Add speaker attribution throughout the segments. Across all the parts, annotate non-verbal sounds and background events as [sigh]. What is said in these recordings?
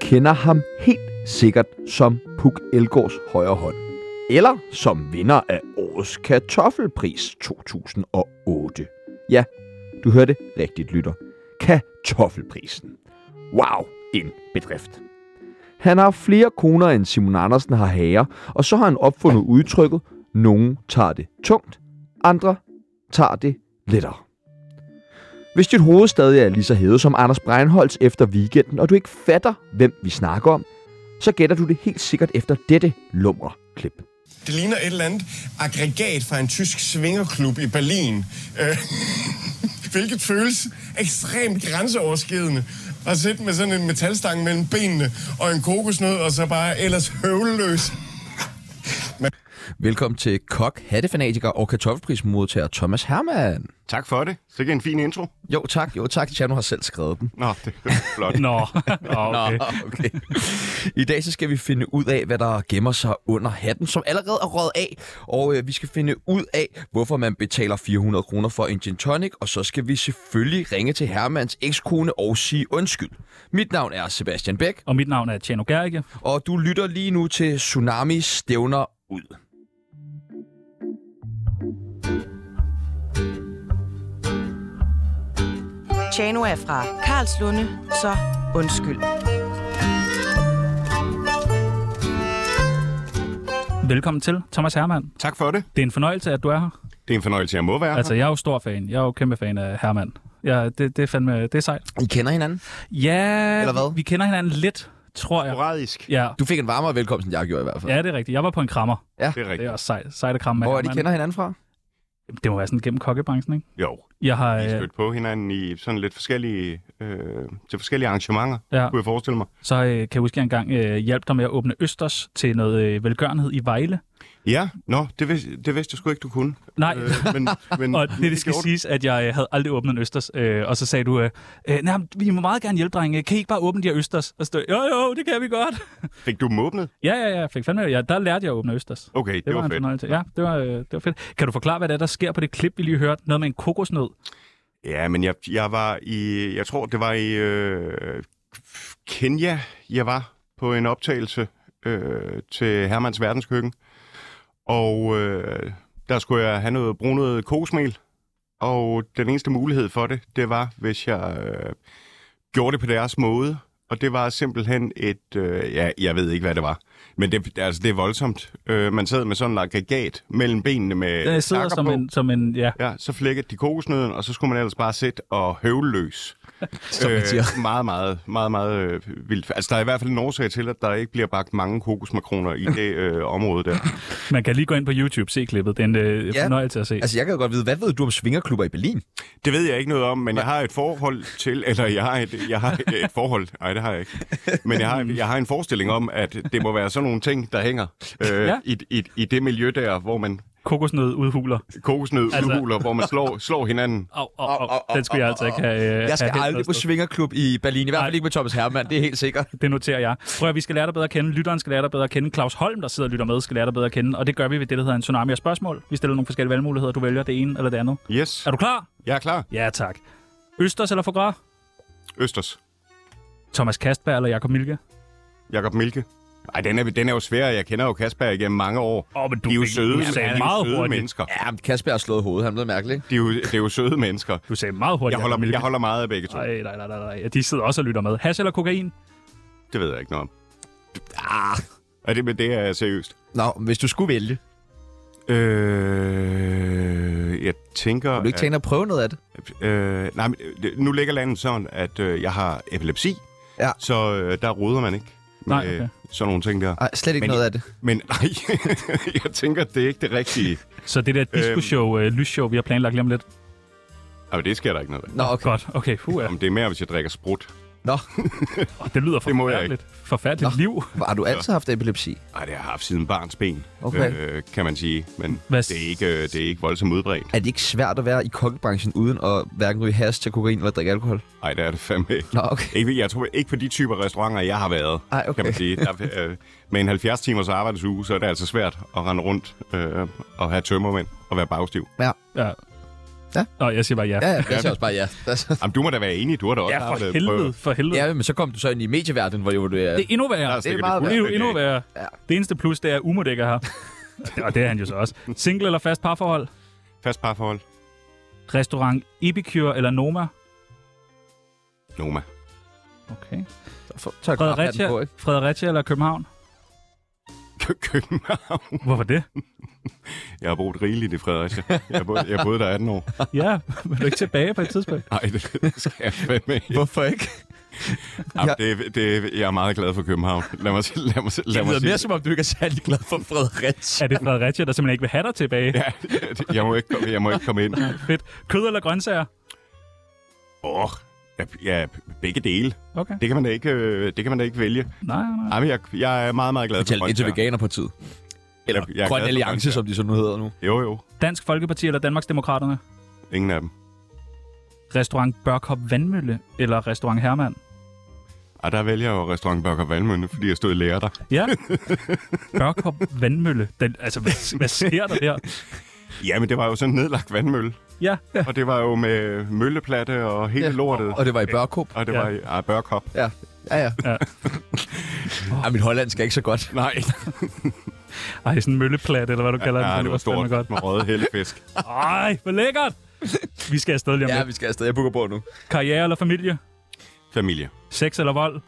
Speaker 1: kender ham helt sikkert som Puk Elgårds højre hånd. Eller som vinder af årets kartoffelpris 2008. Ja, du hørte rigtigt, lytter. Kartoffelprisen. Wow, en bedrift. Han har flere koner, end Simon Andersen har hager, og så har han opfundet udtrykket, nogen tager det tungt, andre tager det lettere. Hvis dit hoved stadig er lige så hævet som Anders Breinholtz efter weekenden, og du ikke fatter, hvem vi snakker om, så gætter du det helt sikkert efter dette lumre klip.
Speaker 2: Det ligner et eller andet aggregat fra en tysk svingerklub i Berlin. Øh, [laughs] hvilket føles ekstremt grænseoverskridende. At sidde med sådan en metalstang mellem benene og en kokosnød, og så bare ellers høvleløs.
Speaker 3: Velkommen til kok, hattefanatiker og kartoffelprismodtager Thomas Hermann.
Speaker 4: Tak for det. Så en fin intro.
Speaker 3: Jo tak, jo tak. Tjerno har selv skrevet den.
Speaker 4: Nå, det er [laughs] flot.
Speaker 5: Nå, [laughs] Nå, okay.
Speaker 3: Ah, okay. I dag så skal vi finde ud af, hvad der gemmer sig under hatten, som allerede er røget af. Og øh, vi skal finde ud af, hvorfor man betaler 400 kroner for en gin tonic. Og så skal vi selvfølgelig ringe til Hermans ekskone og sige undskyld. Mit navn er Sebastian Bæk,
Speaker 5: Og mit navn er Tjano Gerike.
Speaker 3: og du lytter lige nu til Tsunami Stævner Ud.
Speaker 6: Tjano er fra Karlslunde, så undskyld.
Speaker 5: Velkommen til, Thomas Hermann.
Speaker 4: Tak for det.
Speaker 5: Det er en fornøjelse, at du er her.
Speaker 4: Det er en fornøjelse, jeg må være
Speaker 5: Altså, jeg er jo stor fan. Jeg er jo kæmpe fan af Hermann. Ja, det, det er fandme, det er sejt.
Speaker 3: I kender hinanden?
Speaker 5: Ja,
Speaker 3: Eller hvad?
Speaker 5: vi kender hinanden lidt, tror
Speaker 4: her.
Speaker 5: jeg.
Speaker 4: Sporadisk.
Speaker 5: Ja.
Speaker 3: Du fik en varmere velkomst, end jeg gjorde i hvert fald.
Speaker 5: ja, det er rigtigt. Jeg var på en krammer.
Speaker 4: Det er
Speaker 5: Det er
Speaker 4: rigtigt.
Speaker 5: også sejt, sejt at kramme med
Speaker 3: Hvor er de
Speaker 5: Hermann.
Speaker 3: kender hinanden fra?
Speaker 5: Det må være sådan gennem kokkebranchen, ikke?
Speaker 4: Jo,
Speaker 5: Jeg har,
Speaker 4: vi
Speaker 5: øh,
Speaker 4: stødt på hinanden i sådan lidt forskellige, øh, til forskellige arrangementer,
Speaker 5: øh, Ja.
Speaker 4: kunne jeg forestille mig.
Speaker 5: så øh, kan jeg huske, at jeg engang øh, hjalp dig med at åbne Østers til noget øh, velgørenhed i Vejle.
Speaker 4: Ja, nå, det, vidste, det vidste jeg sgu ikke, du kunne. Øh,
Speaker 5: Nej.
Speaker 4: men, men,
Speaker 5: [laughs]
Speaker 4: [laughs]
Speaker 5: Og det, det skal
Speaker 4: Mm. gjorde du.
Speaker 5: siges, at jeg øh, havde aldrig åbnet en østers. Øh, og så sagde du, øh, øh, nej, men vi må meget gerne hjælpe, drenge. Kan I ikke bare åbne de her østers? Og så stod, jeg, jo, jo, det kan vi godt. [laughs]
Speaker 4: Fik du dem åbnet?
Speaker 5: ja, ja, ja, jeg fik fandme, ja, der lærte jeg at åbne østers. Det,
Speaker 4: Okay, det, det var,
Speaker 5: en
Speaker 4: fedt.
Speaker 5: fornøjelse. Ja, det var, øh, det var fedt. Kan du forklare, hvad det er, der sker på det klip, vi lige hørte? Noget med en kokosnød.
Speaker 4: Ja, men jeg, jeg var i, jeg tror, det var i øh, Kenya, jeg var på en optagelse øh, til Hermans Verdenskøkken. Og øh, der skulle jeg have noget, bruge noget kokosmel. Og den eneste mulighed for det, det var, hvis jeg øh, gjorde det på deres måde. Og det var simpelthen et, øh, ja, jeg ved ikke, hvad det var. Men det, altså, det er voldsomt. Øh, man sad med sådan en aggregat mellem benene med
Speaker 5: Den Øh, sidder
Speaker 4: takker
Speaker 5: som
Speaker 4: på.
Speaker 5: en, som en, ja.
Speaker 4: Ja, så flækkede de kokosnøden, og så skulle man ellers bare sætte og høvle
Speaker 5: [laughs]
Speaker 4: løs. Som
Speaker 3: man siger.
Speaker 4: meget, meget, meget, meget øh, vildt. Altså, der er i hvert fald en årsag til, at der ikke bliver bagt mange kokosmakroner i det
Speaker 5: [laughs]
Speaker 4: øh, område der.
Speaker 5: Man kan lige gå ind på YouTube, se klippet. Det er en øh,
Speaker 3: Ja.
Speaker 5: fornøjelse at se.
Speaker 3: Altså, jeg kan jo godt vide, hvad ved du om svingerklubber i Berlin?
Speaker 4: Det ved jeg ikke noget om, men jeg har et forhold til, eller jeg har et, jeg har et, et forhold, nej, det har jeg ikke. Men
Speaker 5: [laughs]
Speaker 4: jeg har,
Speaker 5: Mm.
Speaker 4: jeg har en forestilling om, at det må være sådan nogle ting, der hænger øh,
Speaker 5: Ja.
Speaker 4: ja. i, i, i det miljø der, hvor man
Speaker 5: Kokosnød udhuler.
Speaker 4: kokosnød
Speaker 5: Altså-
Speaker 4: altså... udhuler, hvor man slår, slår hinanden.
Speaker 5: Au, au, au, Den skulle jeg altså ikke have... øh,
Speaker 3: Jeg skal
Speaker 5: have hældt
Speaker 3: aldrig på
Speaker 5: noget sted.
Speaker 3: svingerklub i Berlin. I hvert fald
Speaker 5: Nej.
Speaker 3: ikke med Thomas Hermann, det er helt sikkert.
Speaker 5: Det noterer jeg. Prøv at vi skal lære dig bedre at kende. Lytteren skal lære dig bedre at kende. Claus Holm, der sidder og lytter med, skal lære dig bedre at kende. Og det gør vi ved det, der hedder en tsunami af spørgsmål. Vi stiller nogle forskellige valgmuligheder. Du vælger det ene eller det andet.
Speaker 4: Yes,
Speaker 5: Er du klar?
Speaker 4: jeg er klar.
Speaker 5: Ja, tak. Østers eller Fogra?
Speaker 4: Østers.
Speaker 5: Thomas Kastberg eller Jakob Milke?
Speaker 4: Jakob Milke. Ej, den er, den er jo svær. Jeg kender jo Kasper igennem mange år.
Speaker 5: Åh, men du
Speaker 4: de er jo
Speaker 5: fik-
Speaker 4: søde,
Speaker 5: du
Speaker 4: men
Speaker 5: sagde
Speaker 4: de er jo
Speaker 5: meget
Speaker 4: søde
Speaker 5: hurtigt.
Speaker 4: mennesker.
Speaker 3: Ja, men Kasper har slået hovedet, han blev mærkelig.
Speaker 4: De er jo, det er jo søde mennesker.
Speaker 5: Du sagde meget hurtigt.
Speaker 4: Jeg holder,
Speaker 5: Jakob Milke.
Speaker 4: jeg holder meget af begge to.
Speaker 5: Nej, nej, nej, nej, nej. De sidder også og lytter med. Hash eller kokain?
Speaker 4: Det ved jeg ikke noget om.
Speaker 3: Ah,
Speaker 4: Er det, men det er seriøst.
Speaker 3: nå, hvis du skulle vælge.
Speaker 4: Øh, jeg tænker...
Speaker 3: Har du ikke tænkt dig at prøve noget af det?
Speaker 4: at, øh, nej, men øh, nu ligger landet sådan, at øh, jeg har epilepsi.
Speaker 3: Ja.
Speaker 4: Så øh, der roder man ikke. med
Speaker 5: Nej, okay.
Speaker 4: Sådan nogle ting der.
Speaker 3: Nej, slet ikke
Speaker 4: Men-
Speaker 3: noget af det.
Speaker 4: Men [laughs] nej, jeg tænker, det er ikke det
Speaker 3: [laughs]
Speaker 4: rigtige.
Speaker 5: Så det der
Speaker 4: Øhm.
Speaker 5: disco-show, øh, lysshow, vi har planlagt lige om lidt.
Speaker 4: Jamen, det sker der ikke noget af.
Speaker 3: Nå, okay.
Speaker 5: Godt, okay. Puh, ja.
Speaker 4: Om det er mere, hvis jeg drikker sprut.
Speaker 3: Nå,
Speaker 4: [laughs]
Speaker 5: Åh, det lyder
Speaker 4: Det må jeg
Speaker 5: forfærdeligt. Forfærdeligt liv.
Speaker 3: har du altid haft epilepsi?
Speaker 4: Nej, det har jeg haft siden barns ben,
Speaker 3: Okay.
Speaker 4: øh, kan man sige. Men
Speaker 5: Hvad
Speaker 4: det, er ikke, øh, det er ikke voldsomt udbredt.
Speaker 3: Er det ikke svært at være i kokkebranchen uden at hverken ryge hash til kokain eller drikke alkohol?
Speaker 4: Nej, det er det fandme ikke.
Speaker 3: Nå, okay.
Speaker 4: Ikke, jeg tror ikke på de typer restauranter, jeg har været,
Speaker 3: Ej, okay.
Speaker 4: kan man sige. Der, øh, med en 70-timers arbejdsuge, så er det altså svært at rende rundt øh, og have tømmermænd og være bagstiv.
Speaker 3: Ja.
Speaker 5: Ja. Ja.
Speaker 7: Ja.
Speaker 5: Nå, jeg siger bare ja.
Speaker 7: Ja, ja, jeg siger også bare ja. Altså,
Speaker 4: Jamen, du må da være enig, du har da også
Speaker 5: Ja, for
Speaker 4: været
Speaker 5: helvede,
Speaker 4: prøvet.
Speaker 5: for helvede.
Speaker 3: [laughs] Ja, men så kom du så ind i medieverdenen, hvor jo, du øh, er...
Speaker 5: Det er endnu værre.
Speaker 4: Der stikker
Speaker 7: meget
Speaker 5: Det er jo
Speaker 4: fuldstændig
Speaker 5: endnu
Speaker 4: af.
Speaker 5: værre. Det eneste plus, det er, at Umut ikke er her. Og det er han jo så også. Single eller fast parforhold?
Speaker 4: Fast parforhold.
Speaker 5: Restaurant Epicure eller Noma?
Speaker 4: Noma.
Speaker 5: Okay.
Speaker 3: for, tør
Speaker 5: Fredericia,
Speaker 3: På, ikke?
Speaker 5: Fredericia eller København?
Speaker 4: Kø- København.
Speaker 5: Hvorfor det?
Speaker 4: Jeg har boet rigeligt i Fredericia. Jeg har boet, jeg har boet der 18 år.
Speaker 5: Ja, vil du ikke tilbage på et tidspunkt?
Speaker 4: Nej, det skal jeg fandme ikke.
Speaker 3: Hvorfor ikke?
Speaker 4: Jamen, det, det, jeg er meget glad for København. Lad mig, lad mig, lad mig,
Speaker 3: Det
Speaker 4: lad mig
Speaker 3: lyder mere
Speaker 4: sige
Speaker 3: som om, du ikke er særlig glad for Fredericia.
Speaker 5: Er det Fredericia, der simpelthen ikke vil have dig tilbage? Ja.
Speaker 4: Ja, det- jeg må ikke komme, jeg må ikke komme ind.
Speaker 5: Fedt. Kød eller grøntsager?
Speaker 4: Åh, oh, ja, ja, begge dele.
Speaker 5: Okay.
Speaker 4: Det kan man da ikke, øh, det kan man da ikke vælge.
Speaker 5: Nej, nej.
Speaker 4: Jamen, jeg, jeg er meget, meget glad for
Speaker 3: Fortæl indtil
Speaker 4: grøntsager.
Speaker 3: Veganerpartiet. Eller
Speaker 4: Jeg- jeg er
Speaker 3: Grøn
Speaker 4: glad for
Speaker 3: Alliance,
Speaker 4: grøntsager.
Speaker 3: som de så nu hedder nu.
Speaker 4: Jo, jo.
Speaker 5: Dansk Folkeparti eller Danmarks Demokraterne?
Speaker 4: Ingen af dem.
Speaker 5: Restaurant Børkop Vandmølle eller Restaurant Hermann?
Speaker 4: Og der vælger jeg jo restaurant Børker Valmønne, fordi jeg stod i lærer der.
Speaker 5: Ja. Børkop Vandmølle. Den, altså, hvad, hvad sker der der?
Speaker 4: Jamen, det var jo sådan en nedlagt vandmølle.
Speaker 5: Ja. ja.
Speaker 4: Og det var jo med mølleplatte og hele ja, lortet. Og,
Speaker 3: Og det var i Børkop.
Speaker 4: og det
Speaker 5: Ja.
Speaker 4: var i ah, Børkop.
Speaker 7: ja, ja, ja.
Speaker 3: [laughs] Ej, mit hollandsk er ikke så godt.
Speaker 4: Nej,
Speaker 5: Ej, sådan en mølleplat, eller hvad du kalder den.
Speaker 4: ja,
Speaker 5: lyder
Speaker 4: det var
Speaker 5: fandme
Speaker 4: stort
Speaker 5: Godt.
Speaker 4: med røde hellefisk.
Speaker 5: Ej, hvor lækkert! Vi skal afsted lige om
Speaker 3: Ja,
Speaker 5: ja. lidt.
Speaker 3: vi skal afsted. Jeg booker på nu.
Speaker 5: Karriere eller familie?
Speaker 4: Familie.
Speaker 5: Sex eller vold?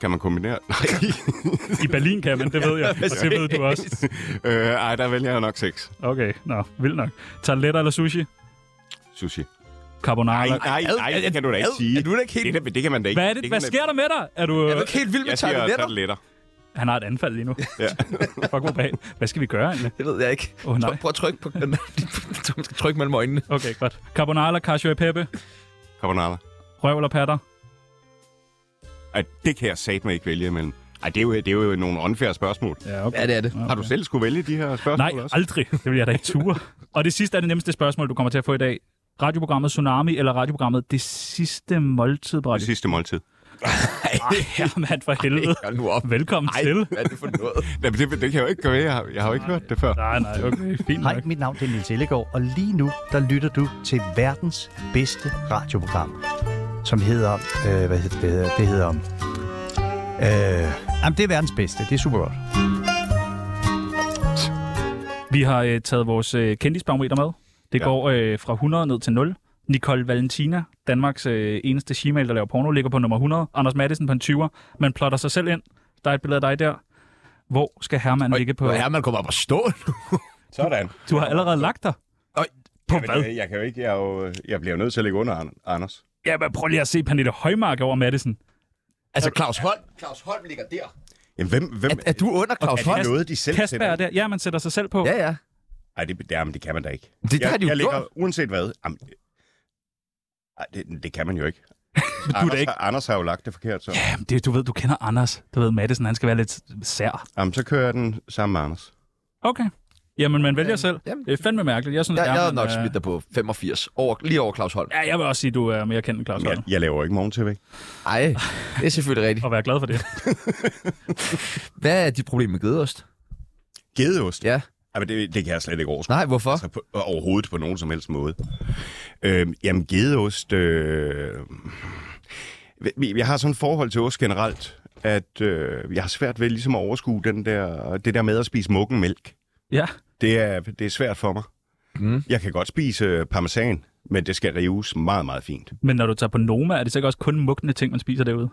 Speaker 4: Kan man kombinere?
Speaker 3: [laughs]
Speaker 4: Nej.
Speaker 5: I Berlin kan man, det ved jeg. Og det ved du også.
Speaker 4: øh, ej, der vælger jeg nok sex.
Speaker 5: Okay, nå, vildt nok. Tarteletter eller sushi?
Speaker 4: Sushi.
Speaker 5: Carbonara?
Speaker 4: Nej, nej, nej, det kan du da ikke sige.
Speaker 3: Er du da ikke helt...
Speaker 4: Det, der, det kan man da ikke.
Speaker 5: Hvad, er det,
Speaker 4: kan
Speaker 5: hvad
Speaker 4: man-
Speaker 5: sker der med dig? Er du...
Speaker 3: Er du ikke helt vild med
Speaker 4: Jeg siger
Speaker 3: tarteletter?
Speaker 4: tarteletter.
Speaker 5: Han har et anfald lige nu.
Speaker 4: Ja. [laughs]
Speaker 5: Fuck, hvor bag. Hvad skal vi gøre egentlig?
Speaker 3: Det ved jeg ikke.
Speaker 5: Åh, oh, nej.
Speaker 3: Prøv at trykke på... [laughs] Du skal trykke mellem øjnene.
Speaker 5: Okay, godt. Carbonara eller cacio e pepe?
Speaker 4: Carbonara.
Speaker 5: Røv eller patter?
Speaker 4: Ej, det kan jeg satme ikke vælge imellem. Ej, det er jo, det er jo nogle unfair spørgsmål.
Speaker 5: Ja, okay.
Speaker 3: Ja, det er det.
Speaker 4: Har du selv skulle vælge de her spørgsmål
Speaker 5: Nej,
Speaker 4: også?
Speaker 5: aldrig. Det vil jeg da ikke ture. Og det sidste er det nemmeste spørgsmål, du kommer til at få i dag. Radioprogrammet Tsunami eller radioprogrammet Det Sidste Måltid på
Speaker 4: Det
Speaker 5: Radio?
Speaker 4: sidste måltid.
Speaker 5: Ja, mand, for helvede.
Speaker 3: Hold nu op.
Speaker 5: Velkommen
Speaker 3: Ej,
Speaker 5: til.
Speaker 3: hvad er det for noget?
Speaker 4: Jamen, det, det kan jeg jo ikke gøre. Jeg har, jeg har jo ikke hørt det før.
Speaker 5: Nej, nej, okay, fint nok.
Speaker 8: Hej, mit navn er Niels Ellegaard, og lige nu, der lytter du til verdens bedste radioprogram, som hedder... Øh, hvad hedder det? hedder? Det hedder... Øh, jamen, det er verdens bedste. Det er super godt.
Speaker 5: Vi har øh, taget vores øh, kendisbarometer med. Det ja.
Speaker 4: Ja.
Speaker 5: går øh, fra 100 ned til 0. Nicole Valentina, Danmarks øh, eneste shemale, der laver porno, ligger på nummer 100. Anders Madsen på en 20'er. Man plotter sig selv ind. Der er et billede af dig der. Hvor skal Herman ligge på?
Speaker 3: Hvor er man kommer op og stå nu?
Speaker 4: Sådan.
Speaker 5: Du har allerede lagt dig.
Speaker 3: Øj,
Speaker 5: På
Speaker 4: Jamen, øh,
Speaker 5: hvad?
Speaker 4: Jeg, jeg kan jo ikke. Jeg, er jo, jeg bliver jo nødt til at ligge under An- Anders.
Speaker 5: Ja, men prøv lige at se Pernille Højmark over Madsen.
Speaker 3: Altså, Claus Holm. Claus Holm ligger der.
Speaker 4: Jamen, hvem, hvem,
Speaker 3: Er du under Claus
Speaker 4: er
Speaker 3: Holm?
Speaker 4: det noget, de selv
Speaker 5: Kasper er
Speaker 4: sætter?
Speaker 5: der. Ja, man sætter sig selv på.
Speaker 3: Ja, ja.
Speaker 4: Nej, det, det, jamen, det kan man da ikke.
Speaker 3: Det har de jo
Speaker 4: jeg ligger,
Speaker 3: gjort.
Speaker 4: uanset hvad. Jamen, øh, ej, det, det kan man jo
Speaker 5: [laughs]
Speaker 4: ikke.
Speaker 5: da
Speaker 4: Anders,
Speaker 5: ikke-
Speaker 4: Har, Anders har jo lagt det forkert, så.
Speaker 5: Jamen, det, du ved, du kender Anders. Du ved, Madsen, han skal være lidt sær.
Speaker 4: Jamen, så kører jeg den sammen med Anders.
Speaker 5: Okay. Jamen, man vælger selv.
Speaker 3: jamen.
Speaker 5: Det er fandme mærkeligt. Jeg synes,
Speaker 3: Jeg, jeg
Speaker 5: Herman
Speaker 3: havde nok
Speaker 5: er-
Speaker 3: smidt dig på 85. Over, lige over Claus Holm.
Speaker 5: Ja, jeg vil også sige, du er mere kendt end Claus Holm.
Speaker 4: Jeg, jeg laver ikke morgen-tv.
Speaker 3: Ej, det er selvfølgelig rigtigt.
Speaker 5: Og være glad for det.
Speaker 3: Hvad er dit problem med gedeost?
Speaker 4: Gedeost?
Speaker 3: Ja.
Speaker 4: Jamen, det, det kan jeg slet ikke overskue.
Speaker 3: Nej, hvorfor?
Speaker 4: Altså, på, overhovedet på nogen som helst måde. Øhm, jamen, gedeost... Øh, jeg har sådan et forhold til ost generelt, at øh, jeg har svært ved ligesom at overskue den der, det der med at spise muggen mælk.
Speaker 5: Ja.
Speaker 4: Det er, det er svært for mig. Mm. Jeg kan godt spise parmesan, men det skal rives meget, meget fint.
Speaker 5: Men når du tager på Noma, er det så ikke også kun mugne ting, man spiser derude?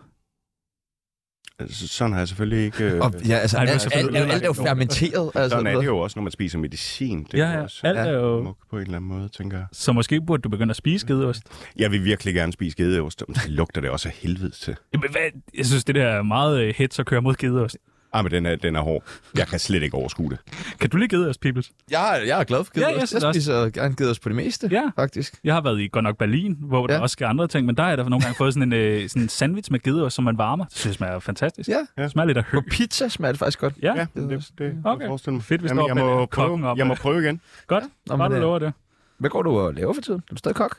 Speaker 4: Altså, sådan har jeg selvfølgelig ikke... Øh,
Speaker 3: Og, ja, altså, Ej,
Speaker 5: Ej, det
Speaker 3: alt,
Speaker 5: var
Speaker 3: alt,
Speaker 5: selvfølgelig-
Speaker 3: alt, alt er jo fermenteret. Altså,
Speaker 4: sådan er det jo også, når man spiser medicin. Det
Speaker 5: Ja,
Speaker 4: kan
Speaker 5: ja.
Speaker 4: også
Speaker 5: Alt er jo-
Speaker 4: mug på en eller anden måde, tænker jeg.
Speaker 5: Så måske burde du begynde at spise gedeost.
Speaker 4: Jeg vil virkelig gerne spise gedeost, men det lugter det også af helvede til.
Speaker 5: Jamen, hvad? Jeg synes, det der er meget øh, hits at køre mod gedeost.
Speaker 4: Ah, men den er, den er hård. Jeg kan slet ikke overskue det.
Speaker 5: Kan du lide gedeost, Peoples?
Speaker 3: Jeg, er- jeg er glad for gedeost.
Speaker 5: Ja, jeg
Speaker 3: jeg,
Speaker 5: synes
Speaker 3: jeg spiser gerne gedeost på det meste,
Speaker 5: Ja.
Speaker 3: faktisk.
Speaker 5: Jeg har været i godt nok Berlin, hvor ja. der
Speaker 3: Ja.
Speaker 5: også sker andre ting, men der har jeg da nogle gange fået sådan en, øh, sådan en sandwich med gedeost, som man varmer. Det synes jeg smager fantastisk.
Speaker 3: Ja.
Speaker 5: Det smager lidt af hø.
Speaker 3: På pizza smager det faktisk godt.
Speaker 5: Ja,
Speaker 4: Ja, det, det kan
Speaker 5: Okay.
Speaker 4: jeg forestille mig.
Speaker 5: Fedt, hvis
Speaker 4: Jamen,
Speaker 5: der
Speaker 4: jeg,
Speaker 5: var
Speaker 4: må
Speaker 5: med kokken
Speaker 4: prøve,
Speaker 5: op.
Speaker 4: jeg må prøve igen.
Speaker 5: godt.
Speaker 3: Nå,
Speaker 5: Bare
Speaker 3: men
Speaker 5: du
Speaker 3: det-
Speaker 5: lover det.
Speaker 3: Hvad går du og laver for tiden? Er du stadig kok?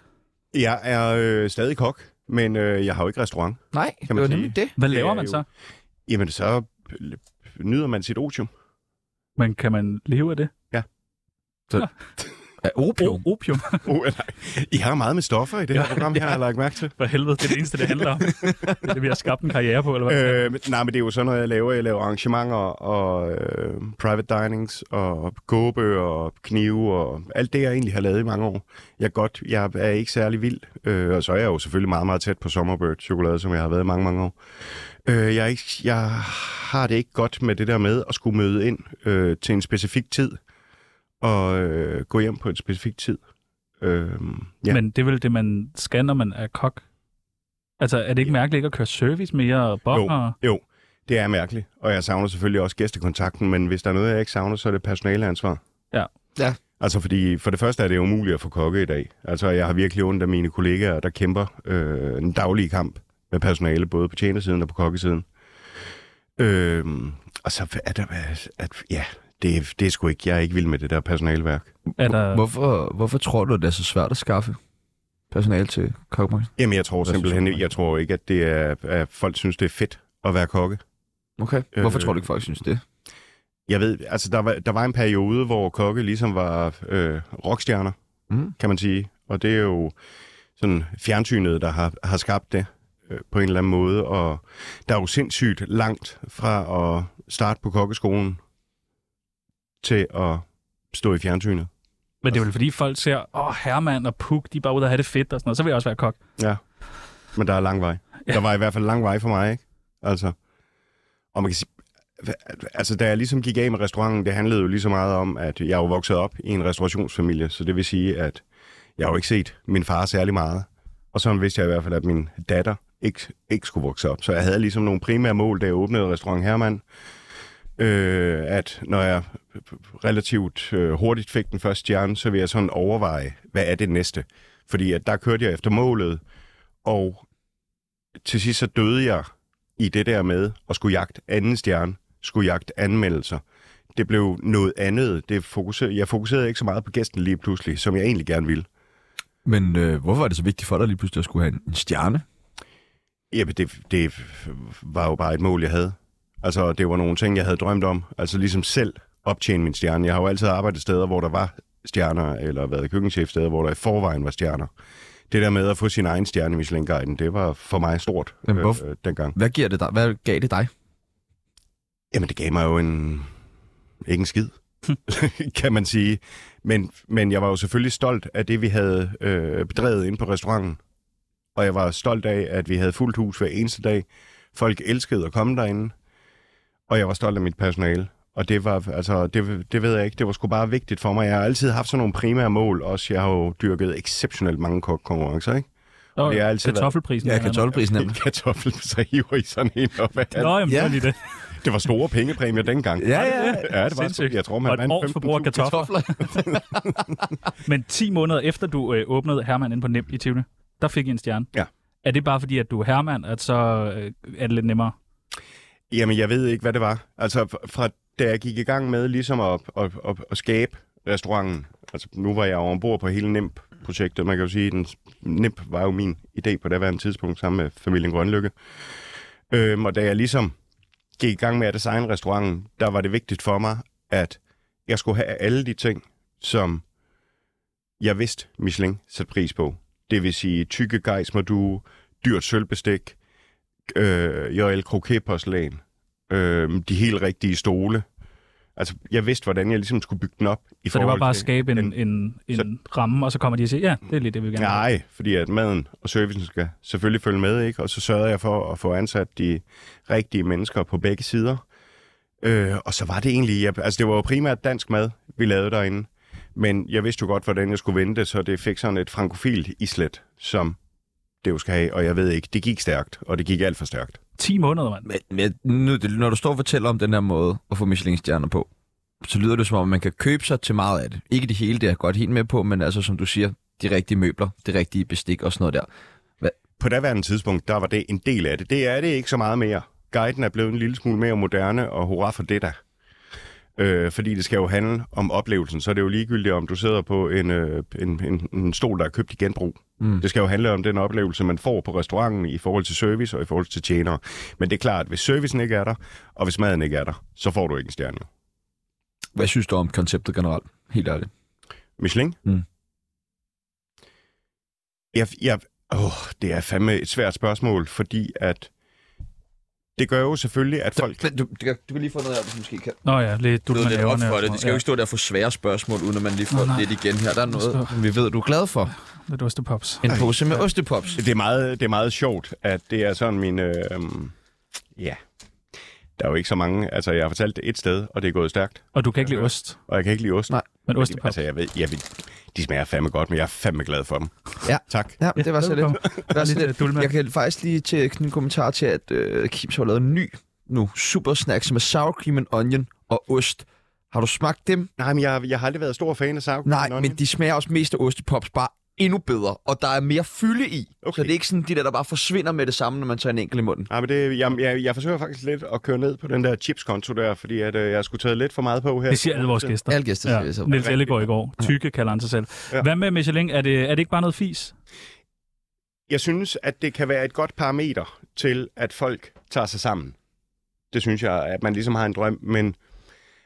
Speaker 4: Jeg er øh, stadig kok, men øh, jeg har jo ikke restaurant.
Speaker 3: Nej,
Speaker 4: man
Speaker 3: det var
Speaker 4: sige.
Speaker 3: nemlig det.
Speaker 5: Hvad
Speaker 4: Det
Speaker 5: laver
Speaker 4: er
Speaker 5: man
Speaker 4: jo-
Speaker 5: så?
Speaker 4: Jamen, så øh,
Speaker 5: [laughs]
Speaker 4: nyder man sit otium.
Speaker 5: Men kan man leve af det?
Speaker 3: Så, Af opium?
Speaker 5: O- opium.
Speaker 4: Oh, nej. I har meget med stoffer i det her program, her, har jeg lagt mærke til.
Speaker 5: For helvede, det er det eneste,
Speaker 4: [laughs]
Speaker 5: det handler om. Det er det, vi har skabt en karriere på, eller hvad? Øh.
Speaker 4: Øh, men- nej, men det er jo sådan noget, jeg laver. Jeg laver arrangementer og øh, private dinings og gåbe og knive og alt det, jeg egentlig har lavet i mange år. Jeg er, godt, jeg er ikke særlig vild, øh, og så er jeg jo selvfølgelig meget, meget tæt på Summerbird chokolade, som jeg har været i mange, mange år. Øh, jeg, er ikke, jeg har det ikke godt med det der med at skulle møde ind øh, til en specifik tid og øh, gå hjem på en specifik tid. Øh, ja.
Speaker 5: Men det er vel det, man skal, når man er kok. Altså, er det ikke mærkeligt ikke at køre service mere og bonger? og-
Speaker 4: Jo, det er mærkeligt, og jeg savner selvfølgelig også gæstekontakten, men hvis der er noget, jeg ikke savner, så er det personaleansvar.
Speaker 5: Ja.
Speaker 7: Ja.
Speaker 4: Altså fordi, for det første er det umuligt at få kokke i dag. Altså jeg har virkelig ondt af mine kollegaer, der kæmper øh, en daglig kamp med personale, både på tjenersiden og på kokkesiden. Øh, og så er der, at, ja, det, er- det er sgu ikke, jeg er ikke vild med det der personaleværk.
Speaker 5: Er der...
Speaker 3: Hvorfor, hvorfor tror du, det er så svært at skaffe personal til kokkebranchen?
Speaker 4: Jamen jeg tror
Speaker 3: Hvad synes
Speaker 4: simpelthen,
Speaker 3: du?
Speaker 4: jeg tror ikke, at, det er, at folk synes, det er fedt at være kokke.
Speaker 3: Okay. Hvorfor
Speaker 4: Øh.
Speaker 3: tror du ikke, folk synes det?
Speaker 4: Jeg ved, altså der var, der var en periode, hvor kokke ligesom var øh, rockstjerner,
Speaker 3: Mm.
Speaker 4: mm. kan man sige. Og det er jo sådan fjernsynet, der har, har skabt det øh, på en eller anden måde. Og der er jo sindssygt langt fra at starte på kokkeskolen til at stå i fjernsynet.
Speaker 5: Men det er vel fordi folk ser, åh, oh, Herman og Puk, de er bare ude og have det fedt og sådan noget. Så vil jeg også være kok.
Speaker 4: Men der er lang vej.
Speaker 5: Ja.
Speaker 4: Ja. Der var i hvert fald lang vej for mig, ikke? Altså, og man kan sige, altså da jeg ligesom gik af med restauranten, det handlede jo lige så meget om, at jeg er jo vokset op i en restaurationsfamilie, så det vil sige, at jeg har jo ikke set min far særlig meget. Og sådan vidste jeg i hvert fald, at min datter ikke, ikke skulle vokse op. Så jeg havde ligesom nogle primære mål, da jeg åbnede restaurant Hermann. Øh, at når jeg relativt øh, hurtigt fik den første stjerne, så vil jeg sådan overveje, hvad er det næste? Fordi at der kørte jeg efter målet, og til sidst så døde jeg i det der med at skulle jagte anden stjerne, skulle jagte anmeldelser. Det blev noget andet. Det fokuserede, jeg fokuserede ikke så meget på gæsten lige pludselig, som jeg egentlig gerne ville.
Speaker 3: Men øh, hvorfor er det så vigtigt for dig lige pludselig at skulle have en, en stjerne?
Speaker 4: Jamen, det, det var jo bare et mål, jeg havde. Altså, det var nogle ting, jeg havde drømt om. Altså, ligesom selv optjene min stjerne. Jeg har jo altid arbejdet steder, hvor der var stjerner, eller været køkkenchef steder, hvor der i forvejen var stjerner. Det der med at få sin egen stjerne i Michelin-guiden, det var for mig stort
Speaker 3: Men
Speaker 4: øh,
Speaker 3: hvorfor-
Speaker 4: øh, dengang.
Speaker 3: Hvad, giver det dig? Hvad gav det dig?
Speaker 4: Jamen, det gav mig jo en... Ikke en skid, kan man sige. Men, men jeg var jo selvfølgelig stolt af det, vi havde øh, bedrevet inde på restauranten. Og jeg var stolt af, at vi havde fuldt hus hver eneste dag. Folk elskede at komme derinde. Og jeg var stolt af mit personale. Og det var, altså, det, det ved jeg ikke, det var sgu bare vigtigt for mig. Jeg har altid haft sådan nogle primære mål også. Jeg har jo dyrket exceptionelt mange konkurrencer, ikke?
Speaker 5: Og
Speaker 4: det er altid været-
Speaker 5: kartoffelprisen.
Speaker 3: Ja,
Speaker 5: eller noget.
Speaker 3: kartoffelprisen
Speaker 4: [laughs]
Speaker 3: nemlig.
Speaker 4: Kartoffel, så hiver I sådan en op af.
Speaker 5: Nå, jamen, det
Speaker 3: Ja.
Speaker 5: var lige det.
Speaker 4: Det var store pengepræmier dengang.
Speaker 3: Ja, ja.
Speaker 4: Ja, det var sgu,
Speaker 5: Sindssygt.
Speaker 4: jeg tror,
Speaker 5: Og
Speaker 4: man
Speaker 5: et års forbrug af kartofler. Men 10 måneder efter du øh, åbnede Herman ind på Nemt i Tivoli, der fik I en stjerne.
Speaker 4: Ja.
Speaker 5: Er det bare fordi, at du er Herman, at så øh, er det lidt nemmere?
Speaker 4: Jamen, jeg ved ikke, hvad det var. Altså, f- fra da jeg gik i gang med ligesom at, at, at, at skabe restauranten, altså nu var jeg jo ombord på hele NIMP-projektet, man kan jo sige, den NIMP var jo min idé på daværende tidspunkt sammen med familien Grønlykke. Øhm, og da jeg ligesom gik i gang med at designe restauranten, der var det vigtigt for mig, at jeg skulle have alle de ting, som jeg vidste Michelin satte pris på. Det vil sige tykke gejsmerdue, dyrt sølvbestik, øh, J.L. Croquet-porcelæn, øh, de helt rigtige stole. Altså, jeg vidste, hvordan jeg ligesom skulle bygge den op. I
Speaker 5: Så det var
Speaker 4: forhold
Speaker 5: bare at
Speaker 4: til
Speaker 5: skabe en,
Speaker 4: den-
Speaker 5: en, en,
Speaker 4: så-
Speaker 5: ramme, og så kommer de og siger, ja, det er lige det, vi gerne vil.
Speaker 4: Nej, fordi at maden og servicen skal selvfølgelig følge med, ikke? Og så sørgede jeg for at få ansat de rigtige mennesker på begge sider. Øh, og så var det egentlig, jeg, altså det var jo primært dansk mad, vi lavede derinde. Men jeg vidste jo godt, hvordan jeg skulle vente, så det fik sådan et frankofilt islet, som det jo skal have. Og jeg ved ikke, det gik stærkt, og det gik alt for stærkt.
Speaker 5: 10 måneder, mand.
Speaker 3: Men, men nu, det- når du står og fortæller om den her måde at få Michelin-stjerner på, så lyder det som om, man kan købe sig til meget af det. Ikke det hele, det er jeg godt helt med på, men altså som du siger, de rigtige møbler, det rigtige bestik og sådan noget der.
Speaker 4: på daværende tidspunkt, der var det en del af det. Det er det ikke så meget mere. Guiden er blevet en lille smule mere moderne, og hurra for det der. Øh, fordi det skal jo handle om oplevelsen, så er det jo ligegyldigt, om du sidder på en, øh, en, en, en stol, der er købt i genbrug. Mm. Det skal jo handle om den oplevelse, man får på restauranten i forhold til service og i forhold til tjenere. Men det er klart, at hvis servicen ikke er der, og hvis maden ikke er der, så får du ikke en stjerne.
Speaker 3: Hvad synes du om konceptet generelt? Helt ærligt.
Speaker 4: Michelin.
Speaker 1: Mm.
Speaker 4: Jeg, jeg, åh, det er fandme et svært spørgsmål, fordi at det gør jo selvfølgelig, at folk...
Speaker 3: Du, du, kan- du kan lige få noget af, hvis du måske kan.
Speaker 5: Nå ja, lidt
Speaker 3: Du
Speaker 5: dut med
Speaker 3: lidt op
Speaker 5: næverne.
Speaker 3: for
Speaker 5: og
Speaker 3: det. De skal jo ikke stå der og få svære spørgsmål, uden at man lige får
Speaker 5: Nå, nej.
Speaker 3: lidt igen her. Der er noget, som vi ved, du er glad for.
Speaker 5: sådan noget der. Lidt ostepops.
Speaker 3: En pose med ostepops.
Speaker 4: Det er, meget, det er meget sjovt, at det er sådan min... Øh, øhm, ja, der er jo ikke så mange... Altså, jeg har fortalt det et sted, og det er gået stærkt,
Speaker 5: Og du kan ikke lide ost,
Speaker 4: og jeg kan ikke lide ost. Nej,
Speaker 5: men ostepops.
Speaker 4: Altså, jeg ved, jeg ved, de smager fandme godt, men jeg er fandme glad for dem.
Speaker 3: Ja.
Speaker 4: Tak.
Speaker 3: Ja, det var så lidt.
Speaker 5: velkommen.
Speaker 3: Det var så
Speaker 5: Lidt, øh,
Speaker 3: lidt.
Speaker 5: dulmand.
Speaker 3: Jeg kan faktisk lige til knytte en kommentar til, at øh, Kims har lavet en ny nu super snack, som er sour cream and onion og ost. Har du smagt dem?
Speaker 4: Nej, men jeg, jeg har aldrig været stor fan af sour
Speaker 3: Nej, men de smager også mest af ostepops, bare endnu bedre, og der er mere fylde i. Okay. Så
Speaker 4: Okay.
Speaker 3: det er ikke sådan de der, der bare forsvinder med det samme, når man tager en enkelt i munden.
Speaker 4: Nej, men det, jeg, jeg, jeg forsøger faktisk lidt at køre ned på den der chipskonto der, fordi at, øh, jeg skulle taget lidt for meget på her.
Speaker 5: Det siger alle vores gæster.
Speaker 7: Alle gæster siger så.
Speaker 5: Ja. Niels Ellegaard i går. Tykke kalder han sig selv.
Speaker 4: Ja.
Speaker 5: Hvad med Michelin? Er det, er det ikke bare noget fis?
Speaker 4: Jeg synes, at det kan være et godt parameter til, at folk tager sig sammen. Det synes jeg, at man ligesom har en drøm, men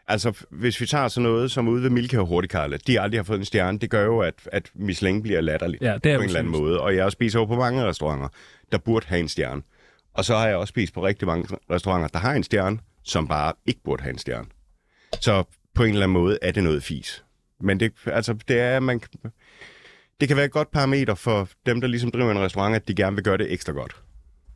Speaker 4: altså, hvis vi tager sådan noget som ude ved Milka og Hurtigkarle, de aldrig har fået en stjerne, det gør jo, at, at Michelin bliver latterlig.
Speaker 5: Ja, det er
Speaker 4: på en eller anden
Speaker 5: useriøst.
Speaker 4: måde. Og jeg spiser jo på mange restauranter, der burde have en stjerne. Og så har jeg også spist på rigtig mange restauranter, der har en stjerne, som bare ikke burde have en stjerne. Så på en eller anden måde er det noget fis. Men det, altså, det er, man, det kan være et godt parameter for dem, der ligesom driver en restaurant, at de gerne vil gøre det ekstra godt.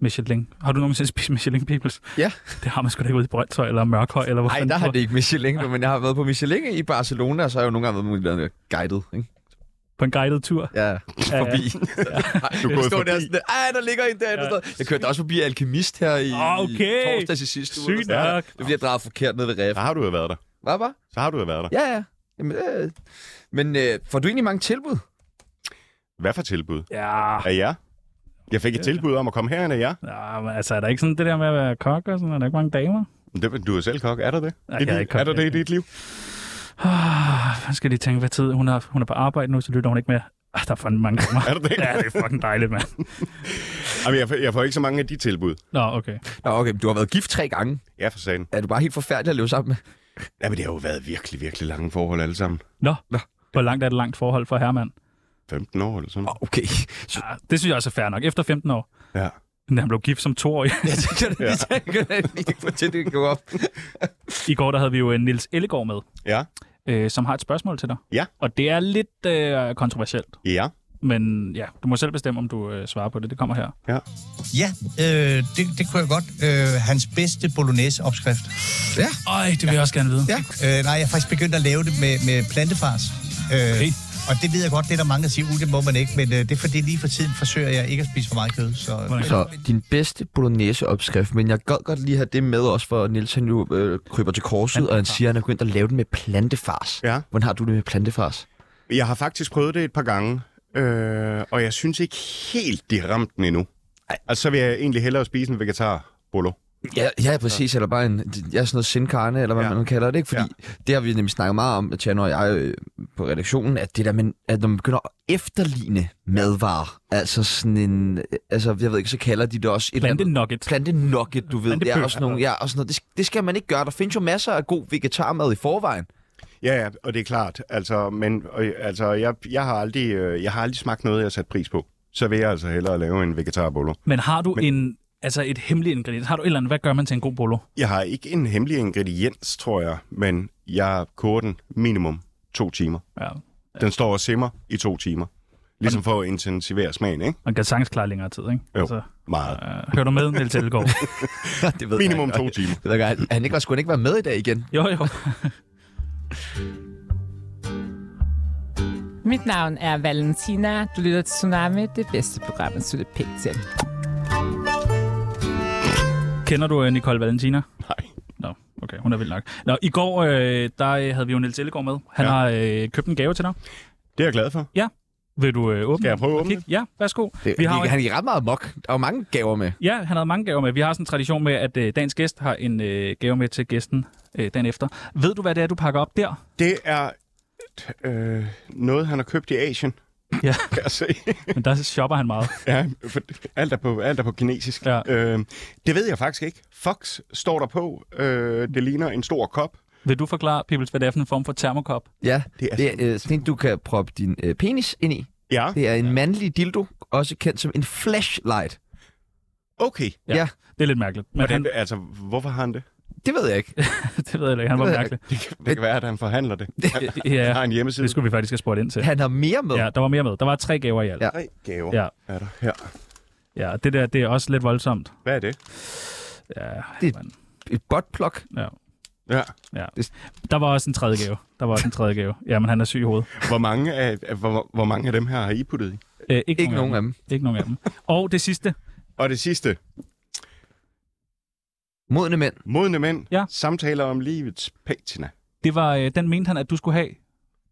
Speaker 5: Michelin. Har du nogensinde spist Michelin Peoples?
Speaker 3: Ja.
Speaker 5: Det har man sgu da ikke ude i Brøndshøj eller Mørkhøj, eller hvor
Speaker 3: Nej,
Speaker 5: fanden
Speaker 3: der har
Speaker 5: var.
Speaker 3: det ikke Michelin, nu, men jeg har været på Michelin i Barcelona, og så har jeg jo nogle gange været med at guidet, ikke?
Speaker 5: På en guided tur.
Speaker 3: Ja, forbi. [laughs] Ja.
Speaker 4: Du er
Speaker 3: Jeg
Speaker 4: gået
Speaker 3: stod der
Speaker 4: forbi.
Speaker 3: sådan, ej, der ligger en derinde.
Speaker 5: Ja.
Speaker 3: Ja. Jeg kørte da også forbi Alkemist her i
Speaker 5: Ah, okay.
Speaker 3: i torsdags i sidste uge.
Speaker 5: Sygt
Speaker 3: eller sådan noget.
Speaker 5: nok.
Speaker 3: Det er fordi, jeg drejede forkert ned ved Ref.
Speaker 4: Så har du jo været der.
Speaker 3: Hvad var?
Speaker 4: Så har du jo været der.
Speaker 3: Ja, ja. Jamen, øh. Men øh, får du egentlig mange tilbud?
Speaker 4: Hvad for tilbud?
Speaker 5: Ja,
Speaker 4: Af jer? Jeg fik et tilbud om at komme herind af jer.
Speaker 5: ja men altså er der ikke sådan det der med at være kok og sådan? Er der ikke mange damer?
Speaker 4: Det- Du er selv kok. Er der det?
Speaker 5: Nej,
Speaker 4: I
Speaker 5: jeg er
Speaker 4: dit-
Speaker 5: ikke kok.
Speaker 4: er der det i dit liv?
Speaker 5: Ah, hvad skal de tænke, hvad tid hun er, hun er på arbejde nu, så lytter hun ikke med. Ah, der er fandme mange damer.
Speaker 4: [laughs] Er der det?
Speaker 5: ja, det er fucking dejligt, mand.
Speaker 4: Jamen, jeg, får- jeg får ikke så mange af de tilbud.
Speaker 5: Nå, okay.
Speaker 3: Nå, okay, men du har været gift tre gange.
Speaker 4: Ja, for sagen.
Speaker 3: Er du bare helt forfærdelig at leve sammen med?
Speaker 4: Jamen, det har jo været virkelig, virkelig lange forhold alle sammen.
Speaker 5: Nå, hvor langt er det langt forhold for Herman?
Speaker 4: 15 år eller sådan.
Speaker 3: Nå, Okay.
Speaker 5: [laughs]
Speaker 3: Så,
Speaker 5: Ah, det synes jeg også er fair nok. Efter 15 år.
Speaker 4: Ja.
Speaker 5: Men han blev gift som toårig.
Speaker 3: jeg tænker, [laughs] ja. jeg tænker, at jeg ikke får til, det går op.
Speaker 5: I går der havde vi jo øh, Nils Ellegaard med,
Speaker 4: Ja.
Speaker 5: øh, som har et spørgsmål til dig.
Speaker 4: Ja.
Speaker 5: Og det er lidt øh, kontroversielt.
Speaker 4: Ja.
Speaker 5: Men ja, du må selv bestemme, om du øh, svarer på det. Det kommer her.
Speaker 9: Ja, øh, det, det kunne jeg godt. Øh, hans bedste bolognese-opskrift.
Speaker 5: Øj, det vil jeg også gerne vide.
Speaker 9: Ja. Øh, nej, jeg er faktisk begyndt at lave det med, med plantefars. Øh,
Speaker 5: Okay.
Speaker 9: Og det ved jeg godt, det er der mange, der siger, uh, det må man ikke, men øh, det er fordi lige for tiden forsøger jeg ikke at spise for meget kød. Så,
Speaker 5: Hvordan-
Speaker 3: Så din bedste bolognese-opskrift, men jeg gad godt lige have det med også, for Nils han jo øh, kryber til korset, og han siger, at han er begyndt at lave den med plantefars.
Speaker 4: Ja.
Speaker 3: Hvordan har du det med plantefars?
Speaker 4: Jeg har faktisk prøvet det et par gange, øh, og jeg synes ikke helt, de ramte den endnu. Ej. Altså, så vil jeg egentlig hellere spise en vegetar bolo.
Speaker 3: Ja, ja præcis, eller bare en, ja, sådan noget sin carne, eller hvad ja.
Speaker 4: Ja.
Speaker 3: man nu kalder det, ikke? Fordi ja. det har vi nemlig snakket meget om, at Tjano og jeg øh, på redaktionen, at det der, men, at når man begynder at efterligne madvarer, altså sådan en, øh, altså jeg ved ikke, så kalder de det også et eller
Speaker 5: Plante
Speaker 3: andet-
Speaker 5: nugget.
Speaker 3: plante nugget, du ved. Det er
Speaker 5: Plantepølse.
Speaker 3: også nogle, ja, og sådan noget. Det, sk- det, skal man ikke gøre. Der findes jo masser af god vegetarmad i forvejen. [laughs]
Speaker 4: Ja, ja, og det er klart. Altså, men og, altså, jeg, jeg, har aldrig, øh, jeg har aldrig smagt noget, jeg sat pris på. Så vil jeg altså hellere lave en vegetar bolo.
Speaker 5: Men har du Men... en, altså et hemmeligt ingrediens? Har du et eller andet, hvad gør man til en god bolo?
Speaker 4: Jeg har ikke en hemmelig ingrediens, tror jeg, men jeg koger den minimum to timer.
Speaker 5: Ja.
Speaker 4: Den står og simmer i to timer. Ligesom for at intensivere smagen, ikke?
Speaker 5: Man kan sagtens klare længere tid, ikke?
Speaker 4: Jo. Meget.
Speaker 5: øh, hører du med, Niels Ellegaard?
Speaker 3: det ved
Speaker 4: Minimum
Speaker 3: jeg ikke.
Speaker 4: to timer.
Speaker 3: Det ved jeg ikke. Han ikke var, skulle han ikke være med i dag igen.
Speaker 5: jo, jo.
Speaker 10: Mit navn er Valentina. Du lytter til Tsunami, det bedste program, at slutte pænt til.
Speaker 5: Kender du øh, Nicole Valentina?
Speaker 4: Nej.
Speaker 5: Nå, okay, hun er vild nok. Nå, i går, øh, der øh, havde vi jo Niels Ellegaard med. Han
Speaker 4: Ja.
Speaker 5: ja. har øh, købt en gave til dig.
Speaker 4: Det er jeg glad for.
Speaker 5: Vil du øh, åbne
Speaker 4: Skal jeg prøve at åbne
Speaker 5: den? Ja, værsgo.
Speaker 3: Det,
Speaker 5: Vi har jo-
Speaker 3: han gik ret meget mok. Der var mange gaver med.
Speaker 5: Ja, han havde mange gaver med. Vi har sådan en tradition med, at øh, dagens gæst har en øh, gave med til gæsten øh, dagen efter. Ved du, hvad det er, du pakker op der?
Speaker 4: Det er øh, noget, han har købt i Asien.
Speaker 5: Ja.
Speaker 4: Kan jeg se.
Speaker 5: Men der shopper han meget.
Speaker 4: ja, for alt, er på, alt er på kinesisk.
Speaker 5: Ja.
Speaker 4: Øh, det ved jeg faktisk ikke. Fox står der på. Øh, det ligner en stor kop.
Speaker 5: Vil du forklare, Pibels, hvad det er for en form for termokop?
Speaker 3: Ja, det er, det er øh, sådan en, du kan proppe din øh, penis ind i.
Speaker 4: Ja.
Speaker 3: Det er en mandlig dildo, også kendt som en flashlight.
Speaker 4: Okay.
Speaker 3: Ja. ja.
Speaker 5: Det er lidt mærkeligt.
Speaker 4: Men Hvordan, han... Altså, hvorfor har han det?
Speaker 3: Det ved jeg ikke.
Speaker 5: [laughs] det ved jeg ikke. Han var
Speaker 4: Det ved jeg
Speaker 5: mærkelig.
Speaker 4: ikke. Det kan, det kan være, at han forhandler det. Han,
Speaker 5: Ja.
Speaker 4: han har en hjemmeside.
Speaker 5: Det skulle vi faktisk have spurgt ind til.
Speaker 3: Han har mere med.
Speaker 5: Ja, der var mere med. Der var tre gaver i alt.
Speaker 3: Ja.
Speaker 4: Tre gaver
Speaker 5: Ja.
Speaker 4: er der her.
Speaker 5: Ja, det der, det er også lidt voldsomt.
Speaker 4: Hvad er det?
Speaker 5: Ja,
Speaker 3: Det-
Speaker 5: mand.
Speaker 3: Et buttplug.
Speaker 5: ja.
Speaker 4: Ja.
Speaker 5: Ja. Der var også en tredje gave. Der var også en tredje gave. Jamen, han er syg i hovedet.
Speaker 4: Hvor mange af, af- hvor, hvor mange af dem her har I puttet i?
Speaker 5: Æ, Øh, ikke,
Speaker 3: Ikke nogen af dem.
Speaker 5: Ikke nogen af dem. Og det sidste.
Speaker 4: Og det sidste.
Speaker 3: Modne mænd.
Speaker 4: Modne mænd.
Speaker 5: Ja.
Speaker 4: Samtaler om livets patina.
Speaker 5: Det var, øh, den mente han, at du skulle have.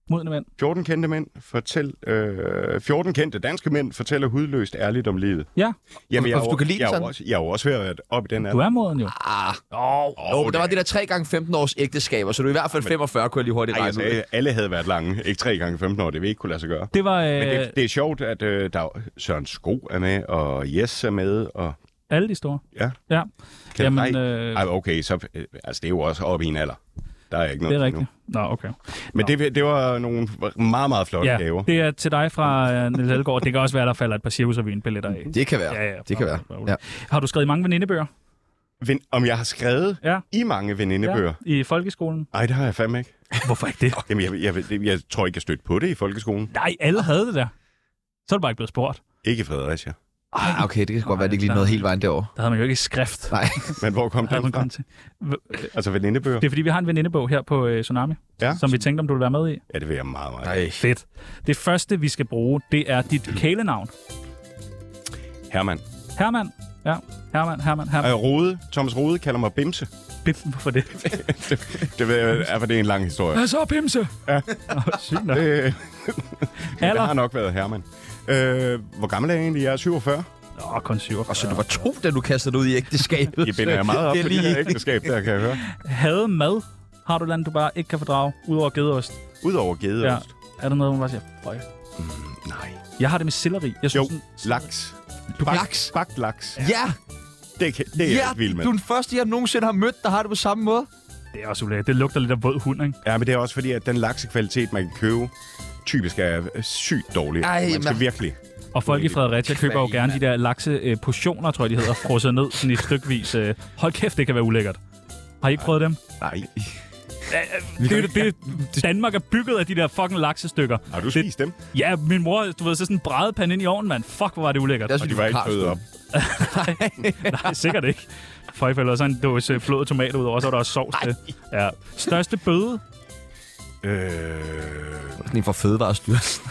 Speaker 5: Modne mand.
Speaker 4: 14 kendte mænd fortæl, øh, 14 kendte danske mænd fortæller hudløst ærligt om livet.
Speaker 5: Ja.
Speaker 4: Jamen, jeg,
Speaker 3: Og- og
Speaker 4: er
Speaker 3: du
Speaker 4: jo-
Speaker 3: kan lide
Speaker 4: jeg, er
Speaker 3: sådan?
Speaker 4: jo også, jeg er jo også ved at være oppe i den
Speaker 5: Du
Speaker 4: alder.
Speaker 5: er moden jo.
Speaker 3: Ah. Oh, oh, men der var det der 3 gange 15 års ægteskaber, så du er i hvert fald 45, kunne jeg lige hurtigt
Speaker 4: Ej, jeg
Speaker 3: regne ud.
Speaker 4: sagde, alle havde været lange. Ikke 3 gange 15 år, det vil ikke kunne lade sig gøre.
Speaker 5: Det var øh,
Speaker 4: Men det, det er sjovt, at øh, der er- Søren Sko er med, og Jes er med, og
Speaker 5: alle de store.
Speaker 4: ja.
Speaker 5: Ja.
Speaker 4: Kan
Speaker 5: Jamen,
Speaker 4: nej.
Speaker 5: øh,
Speaker 4: Ej, okay, så, øh, altså, det er jo også oppe i en alder. Der er ikke
Speaker 5: det
Speaker 4: noget
Speaker 5: er
Speaker 4: til nu.
Speaker 5: rigtigt. Nå, okay.
Speaker 4: Men det, det var nogle meget, meget flotte
Speaker 5: Ja,
Speaker 4: gaver.
Speaker 5: det er til dig fra øh, Niels Elgaard. Det kan også være, der falder et par cirkusrevyen-billetter af.
Speaker 3: Det kan være.
Speaker 5: Ja, ja.
Speaker 3: Det kan være. Ja.
Speaker 5: Har du skrevet mange venindebøger?
Speaker 4: Ven, om jeg har skrevet
Speaker 5: Ja.
Speaker 4: i mange venindebøger?
Speaker 5: Ja, I folkeskolen?
Speaker 4: Nej, det har jeg fandme ikke.
Speaker 5: Hvorfor ikke det?
Speaker 4: Jamen, jeg, jeg, jeg, jeg tror ikke, jeg stødte på det i folkeskolen.
Speaker 5: Nej, alle havde det der. Så er du bare ikke blevet spurgt.
Speaker 4: Ikke i Fredericia.
Speaker 3: Ah, okay, det kan godt være, det ikke lige
Speaker 5: Nej,
Speaker 3: noget helt vejen derovre.
Speaker 5: Der havde man jo ikke skrift.
Speaker 3: Nej. [laughs]
Speaker 4: Men hvor kom
Speaker 5: Havde
Speaker 4: den
Speaker 5: man
Speaker 4: fra?
Speaker 5: kun til. V-
Speaker 4: Altså venindebøger?
Speaker 5: Det er fordi, vi har en venindebog her på øh, Tsunami,
Speaker 4: Ja.
Speaker 5: som vi tænkte, om du ville være med i.
Speaker 4: Ja, det vil jeg meget, meget.
Speaker 3: Nej.
Speaker 5: Fedt. Det første, vi skal bruge, det er dit kælenavn.
Speaker 4: Herman.
Speaker 5: Herman. Ja, Herman, Herman, Herman.
Speaker 4: Øh, Rode. Thomas Rode kalder mig Bimse.
Speaker 5: Bimsen, hvorfor
Speaker 4: [laughs]
Speaker 5: det?
Speaker 4: Det ved jeg, for det er en lang historie.
Speaker 5: Hvad så, Bimse? Ja. Oh, sygt nok.
Speaker 4: Øh, men det
Speaker 5: Alder?
Speaker 4: har nok været Herman. Øh, hvor gammel er jeg egentlig? Jeg er 47.
Speaker 5: Åh, kun 47.
Speaker 3: Og så du var to, da du kastede dig ud i [laughs] ægteskabet.
Speaker 4: Jeg binder jeg meget op
Speaker 3: Det er
Speaker 4: til det
Speaker 3: lige...
Speaker 4: her ægteskab, der kan jeg høre.
Speaker 5: Havde mad. Har du et eller andet, du bare ikke kan fordrage, udover gedeost?
Speaker 4: Udover gedeost.
Speaker 5: Er der noget, hun bare siger, Føj.
Speaker 4: Nej.
Speaker 5: Jeg har det med selleri. Jeg synes,
Speaker 4: Jo,
Speaker 5: sådan-
Speaker 4: laks.
Speaker 3: Du
Speaker 4: Bagt-
Speaker 3: laks.
Speaker 4: Bagt laks.
Speaker 3: Ja,
Speaker 4: Det, kan, det er
Speaker 3: ja,
Speaker 4: jeg ikke vild med.
Speaker 3: du er den første, jeg nogensinde har mødt, der har det på samme måde.
Speaker 5: Det er også ulækkert. Det lugter lidt af våd hund, ikke?
Speaker 4: Ja, men det er også fordi, at den laksekvalitet, man kan købe, typisk er øh, sygt dårlig.
Speaker 3: Ej,
Speaker 4: man skal
Speaker 3: man-
Speaker 4: virkelig...
Speaker 5: Og folk i Fredericia køber jo
Speaker 3: Kvalm,
Speaker 5: gerne de der lakseportioner, tror jeg, de hedder, frosset ned sådan i stykvis. øh. Hold kæft, det kan være ulækkert. Har I ikke prøvet dem?
Speaker 4: Nej.
Speaker 5: Det, det, det, Danmark er bygget af de der fucking laksestykker.
Speaker 4: Har du spist dem?
Speaker 5: Ja, min mor, du ved, så sådan en brædepande ind i ovnen, mand. Fuck, hvor var det ulækkert.
Speaker 3: Jeg
Speaker 4: Og
Speaker 3: synes,
Speaker 4: de
Speaker 3: du
Speaker 4: var ikke
Speaker 3: har
Speaker 4: født op.
Speaker 5: Nej, sikkert ikke. For ikke ellers så en dåse flåede tomat ud over, så er der også sovs til. Ja. Største bøde?
Speaker 4: Øh,
Speaker 3: Sådan en fra Fødevarestyrelsen.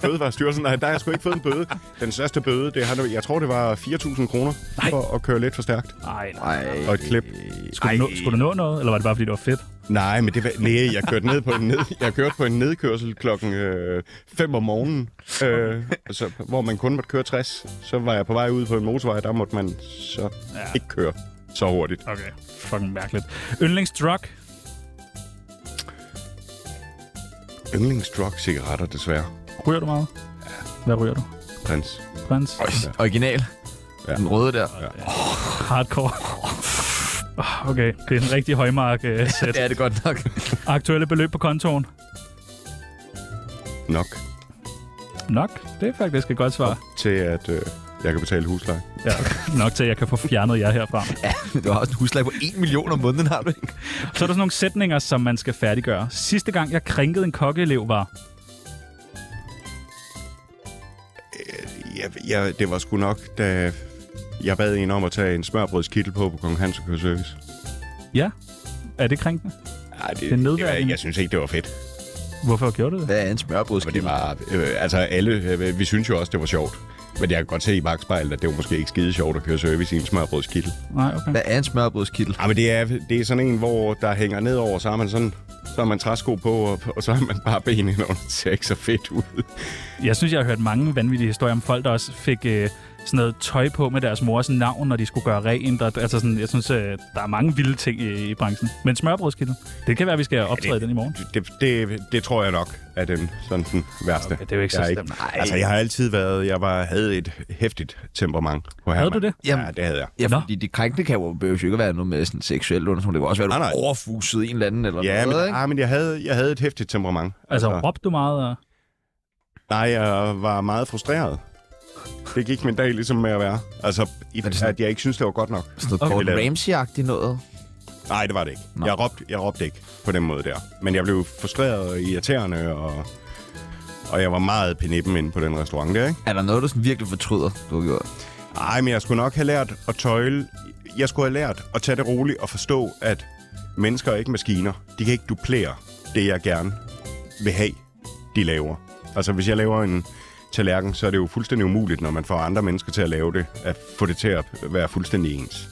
Speaker 4: Fødevarestyrelsen, nej, der har jeg sgu ikke fået en bøde. Den største bøde, det har, jeg tror, det var 4.000 kroner for at køre lidt for stærkt.
Speaker 5: Nej, nej.
Speaker 3: Nej.
Speaker 4: Og et klip.
Speaker 5: Skulle, du nå, skulle du nå noget, eller var det bare, fordi det var fedt?
Speaker 4: Nej, men det var... Nej, jeg kørte, ned på en ned, jeg kørte på en nedkørsel klokken 5 om morgenen, øh, så, hvor man kun måtte køre 60. Så var jeg på vej ud på en motorvej, der måtte man så
Speaker 5: Ja.
Speaker 4: ikke køre så hurtigt.
Speaker 5: Okay, fucking mærkeligt. Yndlingsdrug?
Speaker 4: Yndlingsdrug cigaretter, desværre,
Speaker 5: Ryger du meget? Hvad ryger du?
Speaker 4: prins.
Speaker 5: Prins?
Speaker 3: Original.
Speaker 4: Ja.
Speaker 3: Den røde der.
Speaker 5: Hardcore. [laughs] Okay, det er en rigtig højmark uh, [laughs] sæt.
Speaker 3: Ja, det er godt nok.
Speaker 5: Aktuelle beløb på kontoen?
Speaker 4: Nok
Speaker 5: Nok. Det er faktisk et godt svar.
Speaker 4: til, at øh, jeg kan betale husleje.
Speaker 5: Ja, nok til, at jeg kan få fjernet jer herfra.
Speaker 3: [laughs] Du har også en husleje på 1 million om måneden, har du ikke?
Speaker 5: Så er der sådan nogle sætninger, som man skal færdiggøre. Sidste gang, jeg krænkede en kokkeelev, var...
Speaker 4: Jeg, jeg, det var sgu nok, da jeg bad en om at tage en smørbrødskittel på på Kong Hans og Service.
Speaker 5: Ja, er det krænkende?
Speaker 4: Ej, det,
Speaker 5: er
Speaker 4: det, det,
Speaker 5: nedværdigende.
Speaker 4: jeg, jeg synes ikke, det var fedt.
Speaker 5: Hvorfor gjorde du det?
Speaker 3: Hvad er en smørbrødskib?
Speaker 4: Men det var, øh, altså alle, øh, vi synes jo også, det var sjovt. Men jeg kan godt se i bagspejlet, at det var måske ikke skide sjovt at køre service i en smørbrødskittel.
Speaker 5: Nej, okay.
Speaker 3: Hvad er en smørbrødskittel?
Speaker 4: Ja, men det er, det er sådan en, hvor der hænger nedover, så har man sådan, så har man træsko på, og, og så har man bare benene under, det ser ikke så fedt ud.
Speaker 5: Jeg synes, jeg har hørt mange vanvittige historier om folk, der også fik øh, sådan noget tøj på med deres mors navn, når de skulle gøre rent. Og, altså sådan, jeg synes, øh, der er mange vilde ting i, i branchen. Men smørbrødskildet, det kan være, at vi skal optræde ja, den i morgen.
Speaker 4: Det, det, det tror jeg nok er dem sådan den værste.
Speaker 5: Okay, det er jo ikke så
Speaker 4: jeg er
Speaker 5: slemt. Nej.
Speaker 4: Altså, jeg har altid været... Jeg var, havde et hæftigt temperament på Herman.
Speaker 5: du det?
Speaker 4: Jamen, ja, det havde jeg.
Speaker 3: Ja, fordi det krænkende kan jo, behøver jo ikke være noget med sådan seksuelt undertone. Det kan også være, at
Speaker 4: Nej,
Speaker 3: du
Speaker 4: nej.
Speaker 3: overfusede en eller anden eller
Speaker 4: Ja,
Speaker 3: noget,
Speaker 4: men,
Speaker 3: ikke?
Speaker 4: ah, men jeg, havde, jeg havde et hæftigt temperament.
Speaker 5: Altså, råbte du meget? Og...
Speaker 4: Nej, jeg var meget frustreret. Det gik min dag ligesom med at være. Altså, i,
Speaker 3: det sådan-
Speaker 4: at jeg ikke synes det var godt nok.
Speaker 3: Sådan noget
Speaker 4: Okay.
Speaker 3: Gordon Ramsay-agtigt noget.
Speaker 4: Nej, det var det ikke. Jeg råbte, jeg råbte ikke på den måde der. Men jeg blev frustreret og irriterende, og, og jeg var meget penippen inde på den restaurant der, ikke?
Speaker 3: Er der noget, du sådan virkelig fortryder, du har gjort?
Speaker 4: Nej, men jeg skulle nok have lært at tøjle. Jeg skulle have lært at tage det roligt og forstå, at mennesker er ikke maskiner. De kan ikke duplere det, jeg gerne vil have, de laver. Altså, hvis jeg laver en tallerken, så er det jo fuldstændig umuligt, når man får andre mennesker til at lave det, at få det til at være fuldstændig ens.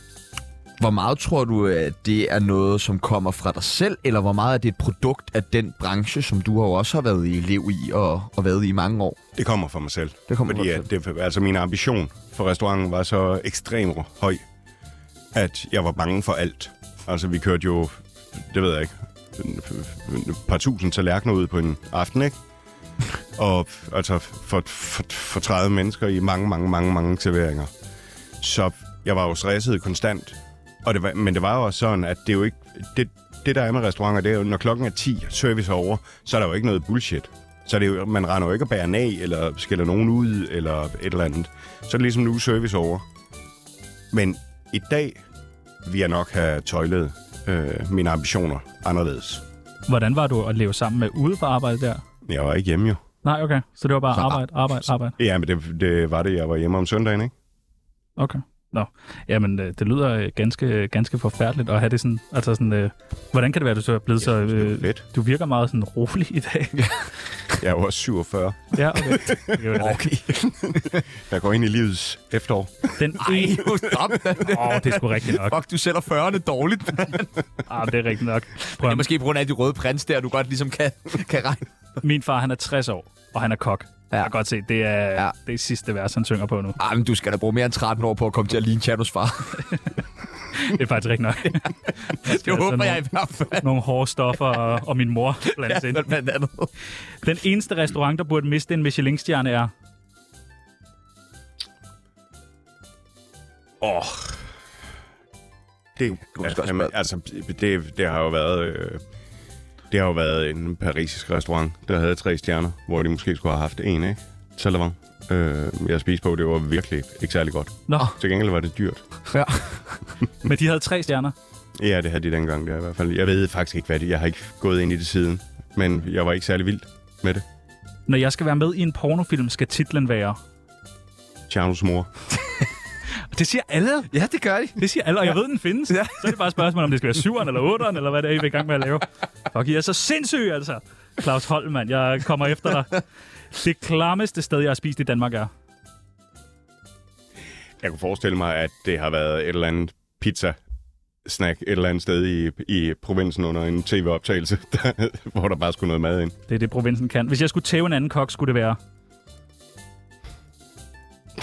Speaker 3: Hvor meget tror du, at det er noget, som kommer fra dig selv, eller hvor meget er det et produkt af den branche, som du jo også har været elev i og, og været i i mange år?
Speaker 4: Det kommer fra mig selv.
Speaker 3: Det kommer
Speaker 4: fordi
Speaker 3: fra dig
Speaker 4: at det, altså min ambition for restauranten var så ekstremt høj, at jeg var bange for alt. Altså vi kørte jo, det ved jeg ikke, et par tusind tallerkener ud på en aften, ikke? Og altså for, for, for 30 mennesker i mange, mange, mange, mange serveringer. Så jeg var jo stresset konstant. Og det var, men det var jo også sådan, at det er jo ikke... Det, det der er med restauranter, det er jo, når klokken er 10, service er over, så er der jo ikke noget bullshit. Så det er jo, man render jo ikke og bærer en af, eller skiller nogen ud, eller et eller andet. Så er det ligesom nu er service over. Men i dag vil jeg nok have tøjlet øh, mine ambitioner anderledes.
Speaker 5: Hvordan var du at leve sammen med ude på arbejde der?
Speaker 4: Jeg var ikke hjemme jo.
Speaker 5: Nej, okay. Så det var bare arbejde, arbejde, arbejde.
Speaker 4: Ja, men det, det var det, jeg var hjemme om søndagen, ikke?
Speaker 5: Okay. Nå. Jamen, øh, det lyder øh, ganske, øh, ganske forfærdeligt at have det sådan... Altså sådan... Øh, hvordan kan det være, at du så er blevet så... Øh,
Speaker 4: Fedt.
Speaker 5: du virker meget sådan rolig i dag.
Speaker 4: Jeg er jo også 47.
Speaker 5: [laughs] ja, okay. Det kan være det.
Speaker 3: Okay.
Speaker 4: Jeg går ind i livets efterår.
Speaker 5: Den ene...
Speaker 3: Stop.
Speaker 5: Åh, oh, det er sgu rigtigt
Speaker 3: [laughs]
Speaker 5: nok.
Speaker 3: Fuck, du sælger 40'erne dårligt.
Speaker 5: Ah, det er rigtigt nok. Prøv,
Speaker 3: Det er
Speaker 5: at-
Speaker 3: måske på grund af de røde prins der, du godt ligesom kan, kan regne.
Speaker 5: min far, han er 60 år, og han er kok. Ja. Jeg kan godt se, det er,
Speaker 3: Ja.
Speaker 5: ja. det er sidste vers, han synger på nu.
Speaker 3: Ej, Ah, men du skal da bruge mere end 13 år på at komme til at ligne Chanos [laughs] far.
Speaker 5: [laughs] Det er faktisk rigtigt nok.
Speaker 3: Det håber jeg i hvert [laughs] fald.
Speaker 5: Nogle hårde stoffer og, og min mor blandt ja,
Speaker 3: [laughs] Ja,
Speaker 5: ind.
Speaker 3: blandt andet.
Speaker 5: Den eneste restaurant, der burde miste en Michelin-stjerne er...
Speaker 4: Åh. Oh. Det,
Speaker 3: måske også
Speaker 4: jamen,
Speaker 3: spørge.
Speaker 4: altså, det, det har jo været... Øh, det har jo været en parisisk restaurant, der havde tre stjerner, hvor de måske skulle have haft en, ikke? Salavant. Øh, jeg spiste på, det var virkelig ikke særlig godt.
Speaker 5: Nå,
Speaker 4: Til gengæld var det dyrt.
Speaker 3: Ja.
Speaker 5: men de havde tre stjerner.
Speaker 4: Ja, det havde de dengang der i hvert fald. Jeg ved faktisk ikke, hvad det Jeg har ikke gået ind i det siden, men jeg var ikke særlig vild med det.
Speaker 5: Når jeg skal være med i en pornofilm, skal titlen være...
Speaker 4: Charles mor.
Speaker 5: Det siger alle.
Speaker 3: ja, det gør de.
Speaker 5: Det siger alle, og jeg ved, den findes. Ja. Så er det bare et spørgsmål, om det skal være syveren eller otteren, eller hvad det er, I er i gang med at lave. Fuck, I er så sindssyge, altså. Claus Holm, mand. Jeg kommer efter dig. Det klammeste sted, jeg har spist i Danmark er.
Speaker 4: Jeg kunne forestille mig, at det har været et eller andet pizza snack et eller andet sted i, i provinsen under en tv-optagelse, [laughs] der, hvor der bare skulle noget mad ind.
Speaker 5: Det er det, provinsen kan. Hvis jeg skulle tæve en anden kok, skulle det være...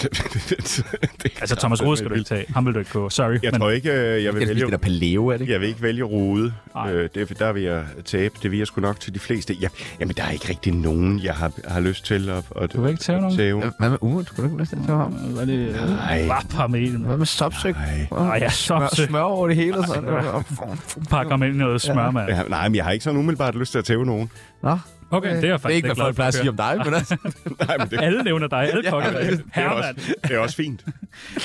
Speaker 4: det, [laughs]
Speaker 5: Altså, Thomas Rode skal du ikke tage. Ham vil du ikke gå. Sorry.
Speaker 4: Jeg tror ikke, øh, jeg vil
Speaker 3: Det
Speaker 4: vælge,
Speaker 3: er paleo, er det ikke?
Speaker 4: jeg vil ikke vælge rode.
Speaker 5: Nej.
Speaker 4: Øh, det, der vil jeg tabe. Det vil jeg sgu nok til de fleste. Ja, jamen, der er ikke rigtig nogen, jeg har, har lyst til at, at,
Speaker 5: Du vil ikke tæve
Speaker 4: at
Speaker 5: nogen?
Speaker 4: tæve.
Speaker 3: Hvad med Umut? Skulle du ikke lyst til at tage ham?
Speaker 5: Hvad er det?
Speaker 4: Nej.
Speaker 5: Vap ham i den.
Speaker 3: Hvad med stopsøg?
Speaker 5: Ej, jeg er så
Speaker 3: Smør, smør over det hele. Sådan.
Speaker 5: pakker ham ind i noget smør, mand.
Speaker 4: Ja, nej, men jeg har ikke sådan umiddelbart lyst til at tæve nogen. [laughs]
Speaker 3: Nå,
Speaker 5: Okay, det er jeg
Speaker 3: det er
Speaker 5: faktisk
Speaker 3: ikke, hvad
Speaker 5: glad
Speaker 3: folk
Speaker 5: for.
Speaker 3: plejer at sige om dig, men [laughs] altså...
Speaker 4: Nej, men det,
Speaker 5: Alle nævner dig. Alle kokker dig.
Speaker 4: det, er også,
Speaker 5: Hermand.
Speaker 4: det er også
Speaker 5: [laughs]
Speaker 4: fint.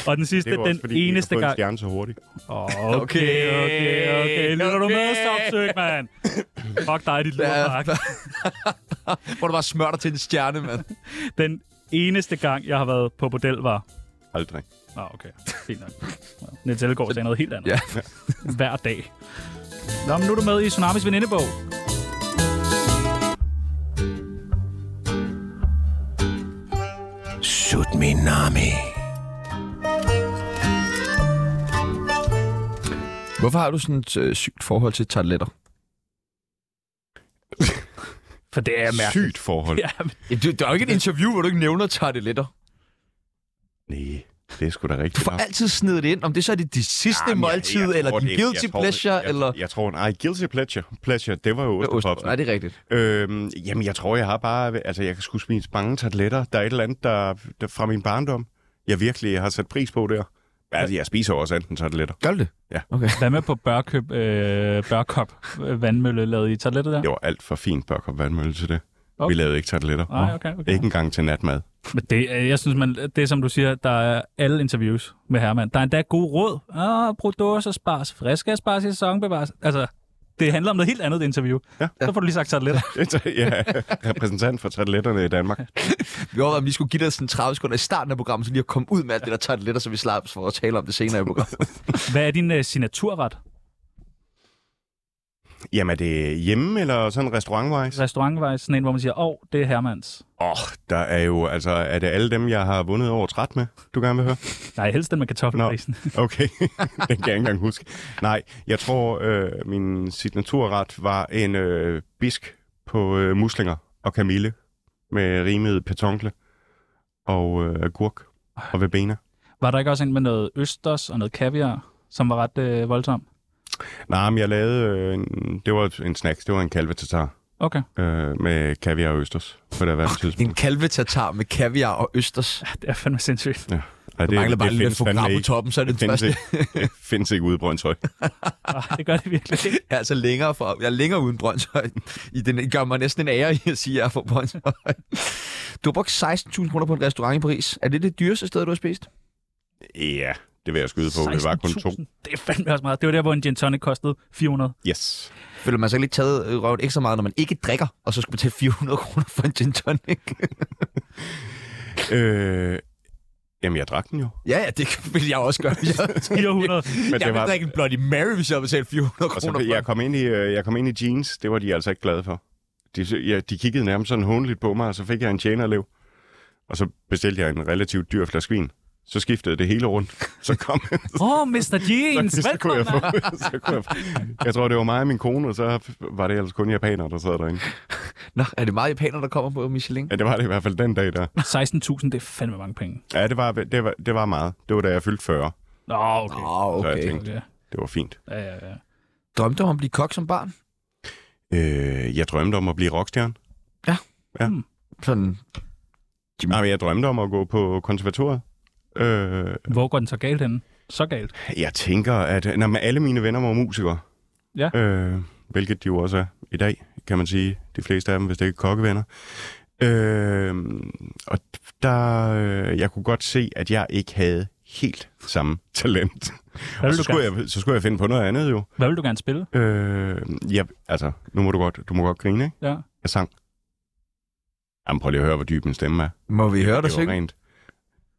Speaker 5: Og den
Speaker 4: Det
Speaker 5: sidste,
Speaker 4: er jo
Speaker 5: den
Speaker 4: også, fordi vi har
Speaker 5: eneste
Speaker 4: fået en
Speaker 5: gang...
Speaker 4: stjerne så hurtigt.
Speaker 5: Okay, okay, okay. Lytter du med, stopsøg, mand? Fuck dig, dit lortmark.
Speaker 3: [laughs] Hvor du bare smør dig til en stjerne, mand.
Speaker 5: Den eneste gang, jeg har været på bordel, var...
Speaker 4: Aldrig.
Speaker 5: Nå, ah, okay. Fint nok. Nå, Niels Ellegaard sagde noget helt andet.
Speaker 3: Ja.
Speaker 5: Hver dag. Nå, men nu er du med i Tsunamis venindebog.
Speaker 3: Hvorfor har du sådan et øh, sygt forhold til tarteletter?
Speaker 5: For det er mærkeligt.
Speaker 4: Sygt forhold.
Speaker 5: Ja, men
Speaker 3: Jamen, det- Der er jo ikke et interview, hvor du ikke nævner tarteletter.
Speaker 4: Nej. Det er sgu da rigtigt.
Speaker 3: Du får altid snedet det ind, om det så er det de sidste
Speaker 4: Jamen, jeg-
Speaker 3: måltid,
Speaker 4: jeg
Speaker 3: eller
Speaker 4: tror,
Speaker 3: din
Speaker 4: det-
Speaker 3: guilty
Speaker 4: jeg tror-
Speaker 3: pleasure,
Speaker 4: jeg,
Speaker 3: eller...
Speaker 4: Jeg tror, nej, guilty pleasure. Pleasure, det var jo ostepopsen.
Speaker 3: Nej, det er rigtigt.
Speaker 4: Øhm, jamen, jeg tror, jeg har bare... Altså, jeg kan sgu spise mange tabletter. Der er et eller andet der, der, fra min barndom, jeg virkelig har sat pris på der. Altså, jeg spiser også enten tabletter.
Speaker 3: Gør det?
Speaker 4: Ja.
Speaker 3: Okay.
Speaker 5: Hvad med på børkøb, øh, børkop øh, vandmølle lavet i toilettet der?
Speaker 4: Det var alt for fint børkop vandmølle til det.
Speaker 5: Okay.
Speaker 4: Vi lavede ikke tabletter.
Speaker 5: Nej, okay, okay.
Speaker 4: Ikke engang til natmad. [laughs]
Speaker 5: Men det, øh, jeg synes, man, det er som du siger, der er alle interviews med Herman. Der er endda gode råd. Ah, brug dåser, spars, friske spars i sæsonbevares. Altså, det handler om noget helt andet det interview. Ja. Så får du lige sagt sig lidt.
Speaker 4: ja, repræsentant for tabletterne i Danmark.
Speaker 3: Vi overvejede, om vi skulle give dig sådan 30 sekunder i starten af programmet, så lige at komme ud med alt det, der tager det lidt, og så vi slap for at tale om det senere i programmet.
Speaker 5: Hvad er din uh, signaturret?
Speaker 4: Jamen, er det hjemme eller sådan restaurantvejs?
Speaker 5: Restaurantvejs, sådan en, hvor man siger, åh, oh, det er Hermans.
Speaker 4: Åh, oh, der er jo, altså, er det alle dem, jeg har vundet over træt med, du gerne vil høre?
Speaker 5: Nej, helst den med kartoffelprisen.
Speaker 4: Okay, [laughs] den kan jeg ikke engang huske. Nej, jeg tror, øh, min signaturret var en øh, bisk på øh, muslinger og kamille med rimet petoncle og øh, agurk og verbena.
Speaker 5: [laughs] Var der ikke også en med noget østers og noget kaviar, som var ret øh, voldsom?
Speaker 4: Nej, men jeg lavede, øh, en, det var en snacks, det var en kalvetatar
Speaker 5: Okay. [laughs]
Speaker 4: øh, med kaviar og østers på det værste
Speaker 3: [laughs]
Speaker 4: tidspunkt.
Speaker 3: En kalvetatar med kaviar og østers.
Speaker 5: Det er fandme sindssygt.
Speaker 4: Ja. Ej,
Speaker 3: Det mangler bare lige lidt
Speaker 4: findes fandme
Speaker 3: program på
Speaker 4: ikke.
Speaker 3: toppen, så er det den
Speaker 4: findes
Speaker 3: første.
Speaker 4: ikke, [laughs] det findes ikke ude i Brøndshøj.
Speaker 5: Ah, det gør det virkelig ikke.
Speaker 3: [laughs] Jeg er altså længere, fra, jeg er længere uden Brøndshøj. I den, I gør mig næsten en ære [laughs] i at sige, at jeg er fra Brøndshøj. Du har brugt 16.000 kroner på en restaurant i Paris. Er det det dyreste sted, du har spist?
Speaker 4: Ja, det vil jeg skyde på. Det var kun to.
Speaker 5: 16.000. Det er fandme også meget. Det var der, hvor en gin tonic kostede 400.
Speaker 4: Yes.
Speaker 3: Føler man sig ikke lidt taget øh, røven ekstra meget, når man ikke drikker, og så skulle betale 400 kroner for en gin tonic?
Speaker 4: Øh, jamen, jeg drak den jo.
Speaker 3: ja, ja, det vil jeg også [laughs] gøre. hvis Jeg,
Speaker 5: 400.
Speaker 4: [laughs] Men
Speaker 3: jeg
Speaker 4: det
Speaker 3: vil
Speaker 4: var,
Speaker 3: drikke en Bloody Mary, hvis jeg har betalt 400
Speaker 4: og
Speaker 3: kroner
Speaker 4: så,
Speaker 3: for
Speaker 4: jeg, kom ind i, øh, jeg kom ind i jeans, det var de altså ikke glade for. De, sy- ja, de kiggede nærmest sådan håndeligt på mig, og så fik jeg en tjenerlev. Og så bestilte jeg en relativt dyr flaske vin. Så skiftede det hele rundt. Så
Speaker 3: [laughs]
Speaker 4: kom [laughs]
Speaker 5: Åh, oh, Mr. Jeans,
Speaker 4: så, så kunne
Speaker 5: velkommen.
Speaker 4: jeg få... [laughs] Så kunne jeg, få- jeg tror, det var mig og min kone, og så var det ellers kun japanere, der sad derinde.
Speaker 3: Nå, er det meget japanere, der kommer på Michelin?
Speaker 4: Ja, det var det i hvert fald den dag, der...
Speaker 5: 16.000, det er fandme mange penge.
Speaker 4: Ja, det var, det var, det var meget. Det var da jeg fyldte 40,
Speaker 5: Nå,
Speaker 3: Åh,
Speaker 5: okay.
Speaker 4: så jeg
Speaker 3: Ah, okay.
Speaker 4: tænkte,
Speaker 5: okay.
Speaker 4: det var fint.
Speaker 5: Ja, ja, ja.
Speaker 3: Drømte du om at blive kok som barn?
Speaker 4: Øh, jeg drømte om at blive rockstjerne.
Speaker 3: Sådan,
Speaker 4: Nej, men jeg drømte om at gå på konservatoriet. Øh,
Speaker 5: Hvor går den så galt henne? Så galt.
Speaker 4: jeg tænker, at når man, alle mine venner var musikere,
Speaker 5: Ja.
Speaker 4: øh, hvilket de jo også er i dag, kan man sige, de fleste af dem, hvis det ikke er kokkevenner. Øh, og der, øh, jeg kunne godt se, at jeg ikke havde helt samme talent.
Speaker 5: Hvad
Speaker 4: Og
Speaker 5: vil,
Speaker 4: så
Speaker 5: du
Speaker 4: skulle,
Speaker 5: gerne,
Speaker 4: jeg, så skulle jeg finde på noget andet jo.
Speaker 5: hvad vil du gerne spille?
Speaker 4: Øh, ja, altså, nu må du godt, du må godt grine, ikke?
Speaker 5: Ja.
Speaker 4: Jeg sang. Jamen, prøv lige at høre, hvor dyb min stemme er.
Speaker 3: må vi høre dig
Speaker 4: Det var
Speaker 3: synge?
Speaker 4: rent.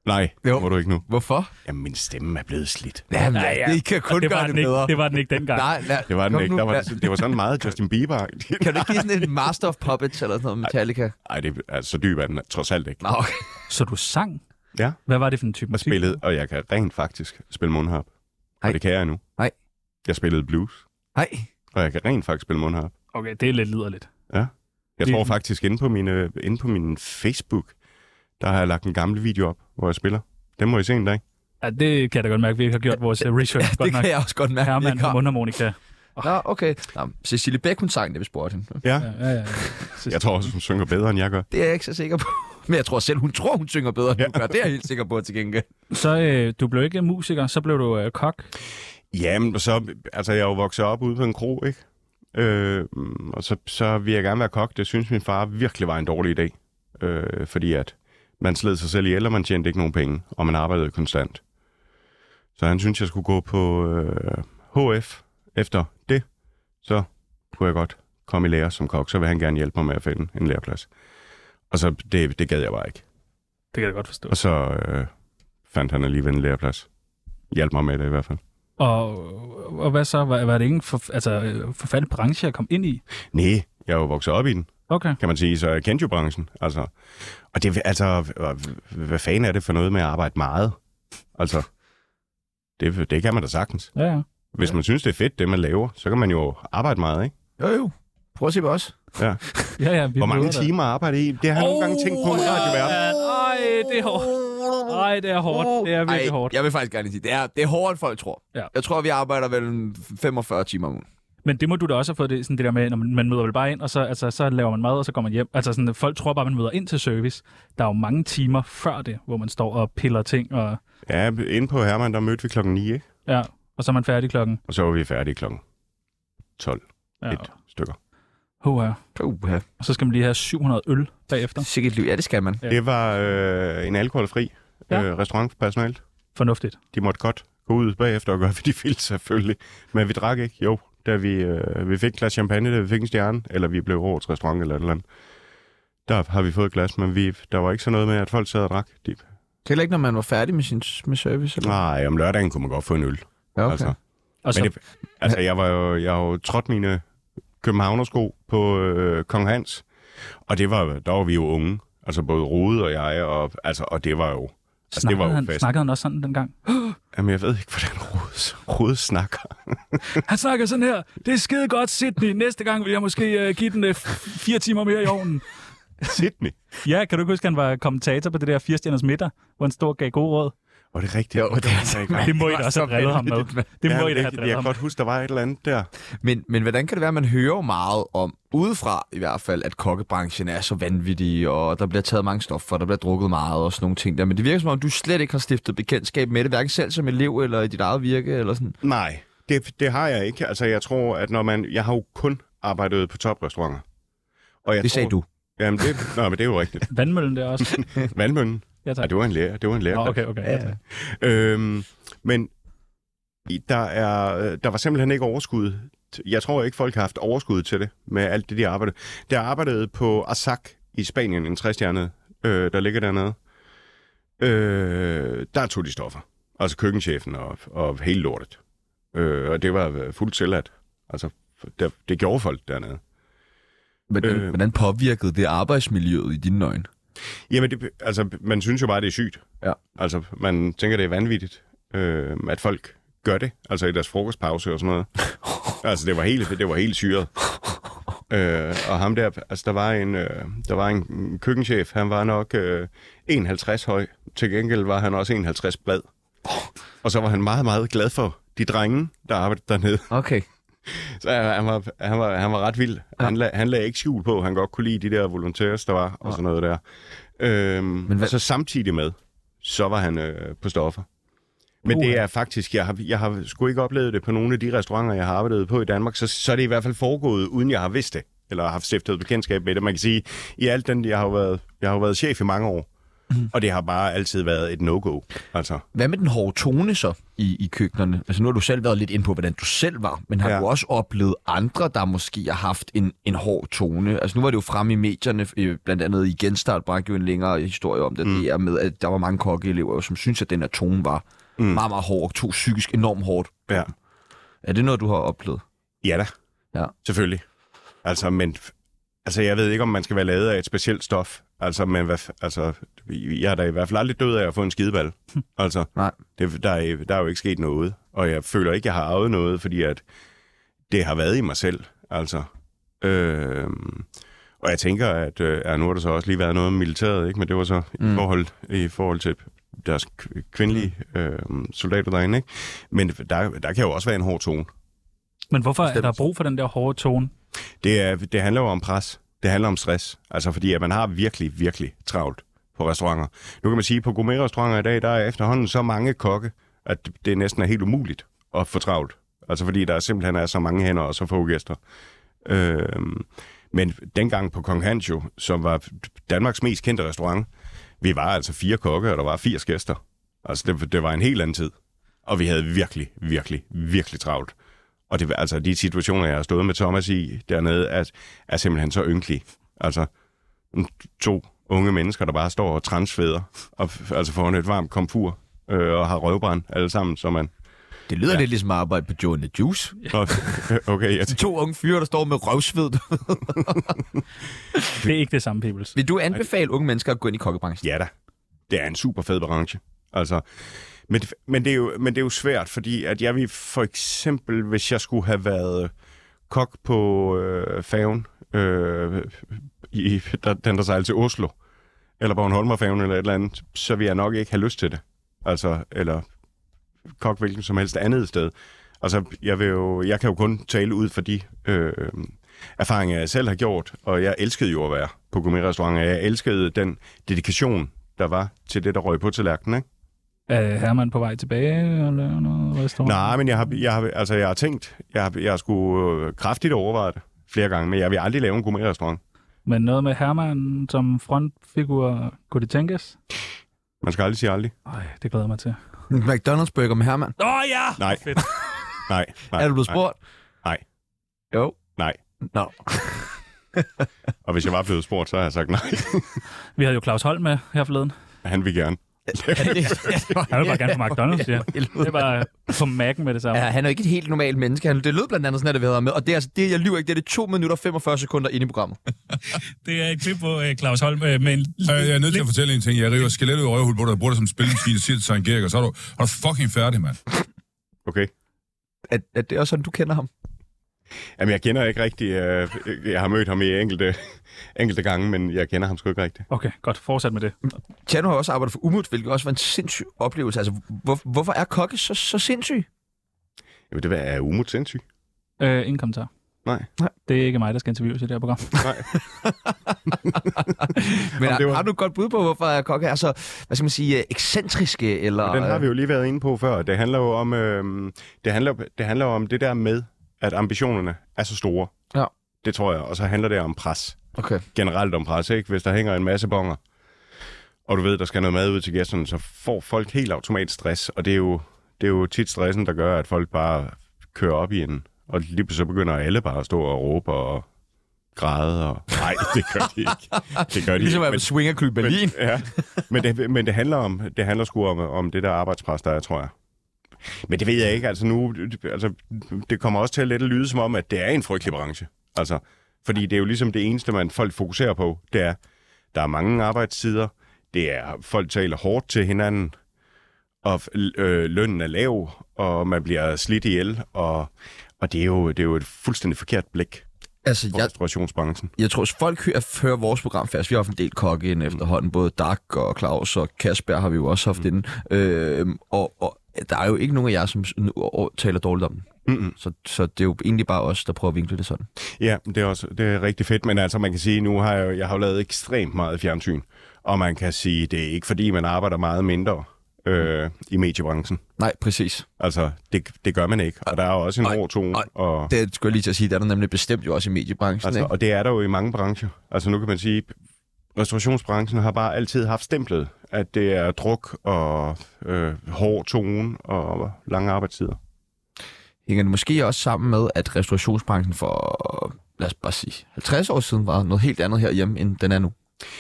Speaker 4: Nej,
Speaker 3: Jo.
Speaker 4: jo. må du ikke nu.
Speaker 3: Hvorfor?
Speaker 4: Jamen, min stemme er blevet slidt.
Speaker 3: Jamen,
Speaker 5: Ja,
Speaker 3: ja,
Speaker 5: ja.
Speaker 3: ja. det kan kun
Speaker 5: det, var
Speaker 3: gøre
Speaker 5: den
Speaker 3: det
Speaker 5: ikke,
Speaker 3: bedre.
Speaker 5: det var den ikke dengang.
Speaker 3: Nej, lad,
Speaker 4: Det var den
Speaker 3: kom
Speaker 4: ikke.
Speaker 3: nu,
Speaker 4: Der var,
Speaker 3: lad-
Speaker 4: det, det var sådan meget Justin bieber -agtigt.
Speaker 3: [laughs] Kan du ikke give sådan en Master of Puppets eller sådan noget Metallica?
Speaker 4: Ej, det er så dyb er den trods alt ikke.
Speaker 3: Nå, okay.
Speaker 5: Så du sang?
Speaker 4: Ja.
Speaker 5: Hvad var det for en type
Speaker 4: Og
Speaker 5: musik?
Speaker 4: spillet, og jeg kan rent faktisk spille mundharp.
Speaker 3: Ej.
Speaker 4: Og det kan jeg nu.
Speaker 3: Ej.
Speaker 4: Jeg spillede blues,
Speaker 3: Nej.
Speaker 4: og jeg kan rent faktisk spille mundharp.
Speaker 5: Okay, det er lidt liderligt.
Speaker 4: Jeg
Speaker 5: Det-
Speaker 4: tror faktisk, inde på, mine, inde på min Facebook, der har jeg lagt en gammel video op, hvor jeg spiller. Den må I se en dag.
Speaker 5: Ja, det kan jeg da godt mærke, vi ikke har gjort vores øh, research
Speaker 3: Det
Speaker 5: godt nok.
Speaker 3: kan jeg også godt mærke. vi
Speaker 5: Herman
Speaker 3: ikke
Speaker 5: på
Speaker 3: har.
Speaker 5: mundharmonika.
Speaker 3: Nå, okay. Nå, Cecilie Bæk, hun sang det, vi spurgte hende.
Speaker 5: Ja,
Speaker 4: Ja.
Speaker 5: ja, ja.
Speaker 4: Jeg tror også, hun synger bedre, end jeg gør.
Speaker 3: Det er jeg ikke så sikker på. Men jeg tror selv, hun tror, hun synger bedre, end hun gør. Det er jeg helt sikker på til gengæld.
Speaker 5: Så øh, du blev ikke musiker, så blev du øh, kok.
Speaker 4: Jamen, og så, altså, jeg er jo vokset op ude på en kro, ikke? Øh, og så, så vil jeg gerne være kok. Det synes min far virkelig var en dårlig idé. Øh, fordi at man sled sig selv ihjel, og man tjente ikke nogen penge, og man arbejdede konstant. Så han synes, jeg skulle gå på øh, HF. Efter det, så kunne jeg godt komme i lære som kok. Så vil han gerne hjælpe mig med at finde en læreplads. Og så, det, det gad jeg bare ikke.
Speaker 5: Det kan jeg godt forstå.
Speaker 4: Og så øh, fandt han alligevel en læreplads. Hjalp mig med det i hvert fald.
Speaker 5: Og, og hvad så? Var, var det ikke en for, altså, øh, forfærdelig branche at komme ind i?
Speaker 4: Nej, jeg er jo vokset op i den.
Speaker 5: Okay.
Speaker 4: kan man sige, så jeg kendte jo branchen. Altså. Og det, altså, h- hvad fanden er det for noget med at arbejde meget? Altså, det, det kan man da sagtens.
Speaker 5: Ja, ja.
Speaker 4: Hvis man synes, det er fedt, det man laver, så kan man jo arbejde meget, ikke?
Speaker 3: Jo, jo. Prøv at se på os.
Speaker 5: ja, ja vi
Speaker 4: Hvor mange
Speaker 5: møder dig.
Speaker 4: timer arbejder I? Det har jeg nogle gange tænkt på med radioverden.
Speaker 5: Ej, Oh, det er hårdt. Ej, det er hårdt. Det er virkelig hårdt.
Speaker 3: Jeg vil faktisk gerne sige, det er, det er hårdere, end folk tror.
Speaker 5: Ja.
Speaker 3: Jeg tror, vi arbejder vel 45 timer om ugen.
Speaker 5: Men det må du da også have fået det, sådan det der med, når man man møder vel bare ind, og så, altså, så laver man mad, og så går man hjem. Altså sådan, folk tror bare, man møder ind til service. Der er jo mange timer før det, hvor man står og piller ting, og,
Speaker 4: Ja, inde på Herman, der mødte vi klokken 9, ikke?
Speaker 5: ja, og så er man færdig klokken.
Speaker 4: Og så var vi færdige klokken 12
Speaker 5: Ja.
Speaker 4: stykker.
Speaker 5: Hurra.
Speaker 3: Uha.
Speaker 5: Og så skal man lige have 700 øl bagefter.
Speaker 3: Sikkert liv. Ja, det skal man.
Speaker 5: Ja.
Speaker 4: Det var øh, en alkoholfri
Speaker 5: Ja.
Speaker 4: øh, restaurant for personalet.
Speaker 5: Fornuftigt.
Speaker 4: De måtte godt gå ud bagefter og gøre, hvad de ville selvfølgelig. Men vi drak ikke, jo. Da vi, øh, vi fik et glas champagne, da vi fik en stjerne, eller vi blev årets restaurant eller et eller andet, der har vi fået et glas, men vi, der var ikke sådan noget med, at folk sad og drak. De,
Speaker 3: Heller ikke, når man var færdig med sin med service? Eller?
Speaker 4: nej, om lørdagen kunne man godt få en øl.
Speaker 3: Ja, okay.
Speaker 4: Altså,
Speaker 5: Og så,
Speaker 4: Men det, altså, jeg var jo, jeg har jo trådt mine københavnersko på øh, Kong Hans, og det var, der var vi jo unge. Altså både Rode og jeg, og, altså, og det var jo... Altså, det
Speaker 5: snakkede,
Speaker 4: var jo
Speaker 5: han,
Speaker 4: fest.
Speaker 5: snakkede han også
Speaker 4: [laughs]
Speaker 5: sådan dengang?
Speaker 4: Jamen, jeg ved ikke, hvordan Rode, Rode snakker. [laughs]
Speaker 5: Han snakker sådan her. Det er skide godt, Sydney. Næste gang vil jeg måske uh, give den uh, fire timer mere i ovnen.
Speaker 4: Sydney.
Speaker 5: Ja, kan du ikke huske, han var kommentator på det der Firestjerners middag, hvor han stod og gav gode råd?
Speaker 4: Var det rigtigt?
Speaker 3: Jo, det er altså
Speaker 4: rigtigt.
Speaker 5: Det må I da også have drillet ham med. Det må I da have
Speaker 4: jeg, jeg
Speaker 5: drillet
Speaker 4: kan
Speaker 5: ham
Speaker 4: godt huske, der var et eller andet der.
Speaker 3: Men, men hvordan kan det være, at man hører jo meget om, udefra i hvert fald, at kokkebranchen er så vanvittig, og der bliver taget mange stoffer, der bliver drukket meget og sådan nogle ting der. Men det virker som om, du slet ikke har stiftet bekendtskab med det, hverken selv som elev eller i dit eget virke eller sådan.
Speaker 4: Nej, det, det har jeg ikke. Altså, jeg tror, at når man... Jeg har jo kun arbejdet på toprestauranter. Og jeg
Speaker 3: det sagde du.
Speaker 4: Jamen, det, nå, men det er jo rigtigt. [laughs]
Speaker 5: Vandmøllen der [laughs] også.
Speaker 4: Vandmøllen.
Speaker 5: Ja,
Speaker 4: Ja,
Speaker 5: tak.
Speaker 4: det var en lærer. Det var en lærer.
Speaker 5: Nå, okay, okay. Ja, tak.
Speaker 4: Øhm, men i- der, er, øh, der var simpelthen ikke overskud. t- Jeg tror ikke, folk har haft overskud til det, med alt det, de arbejdede. Der arbejdede på Asac i Spanien, en træstjernet, øh, der ligger dernede. Øh, der tog de stoffer. Altså køkkenchefen og, og hele lortet. Øh, og det var øh, fuldt tilladt. Altså, der, det gjorde folk dernede.
Speaker 3: Hvordan,
Speaker 4: Øh.
Speaker 3: øh. hvordan påvirkede det arbejdsmiljøet i dine øjne?
Speaker 4: Jamen, det, altså, man synes jo bare, det er sygt.
Speaker 3: Ja.
Speaker 4: Altså, man tænker, det er vanvittigt, øh, at folk gør det, altså i deres frokostpause og sådan noget. altså, det var helt, det var helt syret. Øh, og ham der, altså der var en, øh, der var en en køkkenchef, han var nok øh, 51 høj. Til gengæld var han også 51 blad. Og så var han meget, meget glad for de drenge, der arbejdede dernede.
Speaker 3: Okay.
Speaker 4: Så han, han, var, han, var, han var ret vild. Ja. Han, lag, han lagde ikke skjul på, han godt kunne lide de der volontærer, der var, og sådan noget der. Øhm, Men
Speaker 3: hvad-
Speaker 4: Og så samtidig med, så var han øh, på stoffer. Men det er faktisk, jeg har, jeg har sgu ikke oplevet det på nogle af de restauranter, jeg har arbejdet på i Danmark, så, så er det i hvert fald foregået, uden jeg har vidst det, eller har haft stiftet bekendtskab med det. Man kan sige, i alt den, jeg har jo været, jeg har jo været chef i mange år, mm. og det har bare altid været et no-go. Altså,
Speaker 3: Hvad med den hårde tone så i, i køkkenerne? Altså nu har du selv været lidt inde på, hvordan du selv var, men har
Speaker 4: Ja.
Speaker 3: ja. du også oplevet andre, der måske har haft en, en hård tone? Altså nu var det jo fremme i medierne, øh, blandt andet i Genstart bragte jo en længere historie om det, mm. det er med, at der var mange kokkeelever, som synes at den her tone var mm. meget, meget hård, og tog psykisk enormt hårdt.
Speaker 4: ja.
Speaker 3: Er det noget, du har oplevet?
Speaker 4: Ja da.
Speaker 3: Ja.
Speaker 4: Selvfølgelig. Altså, men... Altså, jeg ved ikke, om man skal være lavet af et specielt stof. Altså, men hvad, f- altså, jeg er da i hvert fald aldrig død af at få en skideball. Altså,
Speaker 3: Nej.
Speaker 4: det, der, er, der er jo ikke sket noget. Og jeg føler ikke, jeg har arvet noget, fordi at det har været i mig selv. Altså, øh, og jeg tænker, at øh, ja, nu har der så også lige været noget med militæret, ikke? men det var så mm. i, forhold, i forhold til deres k- kvindelige øh, soldater derinde. Ikke? Men der, der kan jo også være en hård tone.
Speaker 5: Men hvorfor er der brug for den der hårde tone?
Speaker 4: Det, er, det handler jo om pres. Det handler om stress. Altså fordi, at man har virkelig, virkelig travlt på restauranter. Nu kan man sige, at på gourmet-restauranter i dag, der er efterhånden så mange kokke, at det næsten er helt umuligt at få travlt. Altså fordi, der simpelthen er så mange hænder og så få gæster. Øhm, men dengang på Kong Hans jo, som var Danmarks mest kendte restaurant, vi var altså fire kokke, og der var 80 gæster. Altså det, det var en helt anden tid. Og vi havde virkelig, virkelig, virkelig travlt. Og det, altså, de situationer, jeg har stået med Thomas i dernede, er, er simpelthen så ynkelige. Altså, to unge mennesker, der bare står og transfæder, og, f- altså foran et varmt komfur, øh, og har røvbrand alle sammen, så man...
Speaker 3: Det lyder ja. lidt ligesom at arbejde på Joe and the Juice.
Speaker 4: Nå, [laughs] okay, jeg,
Speaker 3: To unge fyre, der står med [laughs] røvsved.
Speaker 5: Det er ikke det samme, Peoples.
Speaker 3: Vil du anbefale unge mennesker at gå ind i kokkebranchen?
Speaker 4: Ja da. Det er en super fed branche. Altså, men, men, det er jo, men det er jo svært, fordi at jeg vil for eksempel, hvis jeg skulle have været kok på øh, faven, øh, i, der, den der sejler til Oslo, eller Bornholmerfærgen eller et eller andet, så vil jeg nok ikke have lyst til det. Altså, eller kok hvilken som helst andet sted. Altså, jeg, vil jo, jeg kan jo kun tale ud for de øh, erfaringer, jeg selv har gjort, og jeg elskede jo at være på gourmetrestauranter. Jeg elskede den dedikation, der var til det, der røg på tallerkenen, ikke?
Speaker 5: Er Herman på vej tilbage og lave noget
Speaker 3: Mhm.
Speaker 5: restaurant?
Speaker 4: Nej, men jeg har, jeg har, altså, jeg har tænkt, jeg har, jeg har sgu øh, kraftigt overvejet det flere gange, men jeg vil aldrig lave en gourmetrestaurant.
Speaker 5: Men noget med Herman som frontfigur, kunne det tænkes?
Speaker 4: Man skal aldrig sige aldrig.
Speaker 5: Nej, det glæder jeg mig til.
Speaker 3: McDonald's burger med Herman.
Speaker 5: Åh oh, ja!
Speaker 4: Nej.
Speaker 5: Fedt.
Speaker 4: [laughs] Nej, nej.
Speaker 3: Er du blevet spurgt?
Speaker 4: Nej.
Speaker 3: Jo.
Speaker 4: Nej.
Speaker 3: [laughs] Nå.
Speaker 4: Og hvis jeg var blevet spurgt, så har jeg sagt nej. [laughs]
Speaker 5: Vi havde jo Claus Holm med her forleden.
Speaker 4: Han vil gerne.
Speaker 3: [laughs]
Speaker 5: Han vil bare gerne på McDonald's, ja. Det er bare på Mac'en med det samme.
Speaker 3: Ja, han er jo ikke et helt normalt menneske. Han, det lød blandt andet sådan, at det vi havde ham med. Og det er altså, det, jeg lyver ikke, det er det 2 minutter og 45 sekunder inde i programmet.
Speaker 11: Det er et klip på øh, Claus Holm, øh, men...
Speaker 12: Jeg, jeg er nødt til at fortælle en ting. Jeg river skelettet ud af røvhul på dig, og bruger det som spillemaskine, og siger det til Søren Gerg, og så er du, er du fucking færdig, mand.
Speaker 4: Okay.
Speaker 3: Er, er det også sådan, du kender ham?
Speaker 4: Jamen, jeg kender ikke rigtig... Øh, jeg har mødt ham i enkelte, [laughs] enkelte gange, men jeg kender ham sgu ikke rigtigt.
Speaker 5: Okay, godt. Fortsæt med det.
Speaker 3: Tjano har også arbejdet for Umut, hvilket også var en sindssyg oplevelse. Altså, hvor, hvorfor er kokke så, så sindssyg?
Speaker 4: Jamen, det er umut sindssyg.
Speaker 5: Øh, ingen kommentar.
Speaker 4: Nej.
Speaker 5: Det er ikke mig, der skal interviews i det her program.
Speaker 4: Nej.
Speaker 3: Men har, var... har du et godt bud på, hvorfor er kokke er så, hvad skal man sige, øh, ekscentriske? Eller, øh,
Speaker 4: Den har vi jo lige været inde på før. Det handler jo om, øh, det handler, det handler om det der med, at ambitionerne er så store.
Speaker 3: Ja.
Speaker 4: Det tror jeg. Og så handler det om pres.
Speaker 3: Okay.
Speaker 4: Generelt om pres, ikke? Hvis der hænger en masse bonger, og du ved, der skal noget mad ud til gæsterne, så får folk helt automatisk stress. Og det er jo, det er jo tit stressen, der gør, at folk bare kører op i en. Og lige pludselig så begynder alle bare at stå og råbe og græde. Og... Nej, det gør de ikke. Det gør de
Speaker 3: [laughs] Ligesom at
Speaker 4: ikke.
Speaker 3: være swinger klub Berlin.
Speaker 4: Men, ja. men, det, men det handler, om, det handler sgu om, om det der arbejdspres, der er, tror jeg. Men det ved jeg ikke. Altså nu, altså, det kommer også til at lette lyde som om, at det er en frygtelig branche. Altså, fordi det er jo ligesom det eneste, man folk fokuserer på, det er, der er mange arbejdstider, det er, folk taler hårdt til hinanden, og øh, lønnen er lav, og man bliver slidt ihjel, og, og det, er jo, det er jo et fuldstændig forkert blik
Speaker 3: Altså,
Speaker 4: på
Speaker 3: jeg-
Speaker 4: restaurationsbranchen.
Speaker 3: Jeg tror, at folk hører, hører vores program fast. Vi har haft en del kokke ind efterhånden. Både Dak og Claus og Kasper har vi jo også haft mm. inden. Øhm, og, og der er jo ikke nogen af jer, som s- nu- og- taler dårligt om den.
Speaker 4: Mm-mm.
Speaker 3: Så, så det er jo egentlig bare os, der prøver at vinkle det sådan.
Speaker 4: Ja, det er også det er rigtig fedt, men altså man kan sige, nu har jeg, jo- jeg har jo lavet ekstremt meget fjernsyn, og man kan sige, det er ikke fordi, man arbejder meget mindre øh, i mediebranchen.
Speaker 3: Nej, præcis.
Speaker 4: Altså, det, det gør man ikke, og der er jo også en hård tone, og,
Speaker 3: Det skulle jeg lige til at sige, der er der nemlig bestemt jo også i mediebranchen.
Speaker 4: altså,
Speaker 3: ikke?
Speaker 4: og det er der jo i mange brancher. Altså nu kan man sige, restaurationsbranchen har bare altid haft stemplet, at det er druk og øh, hård tone og lange arbejdstider.
Speaker 3: Hænger det måske også sammen med, at restaurationsbranchen for, lad os bare sige, 50 år siden var noget helt andet herhjemme, end den er nu?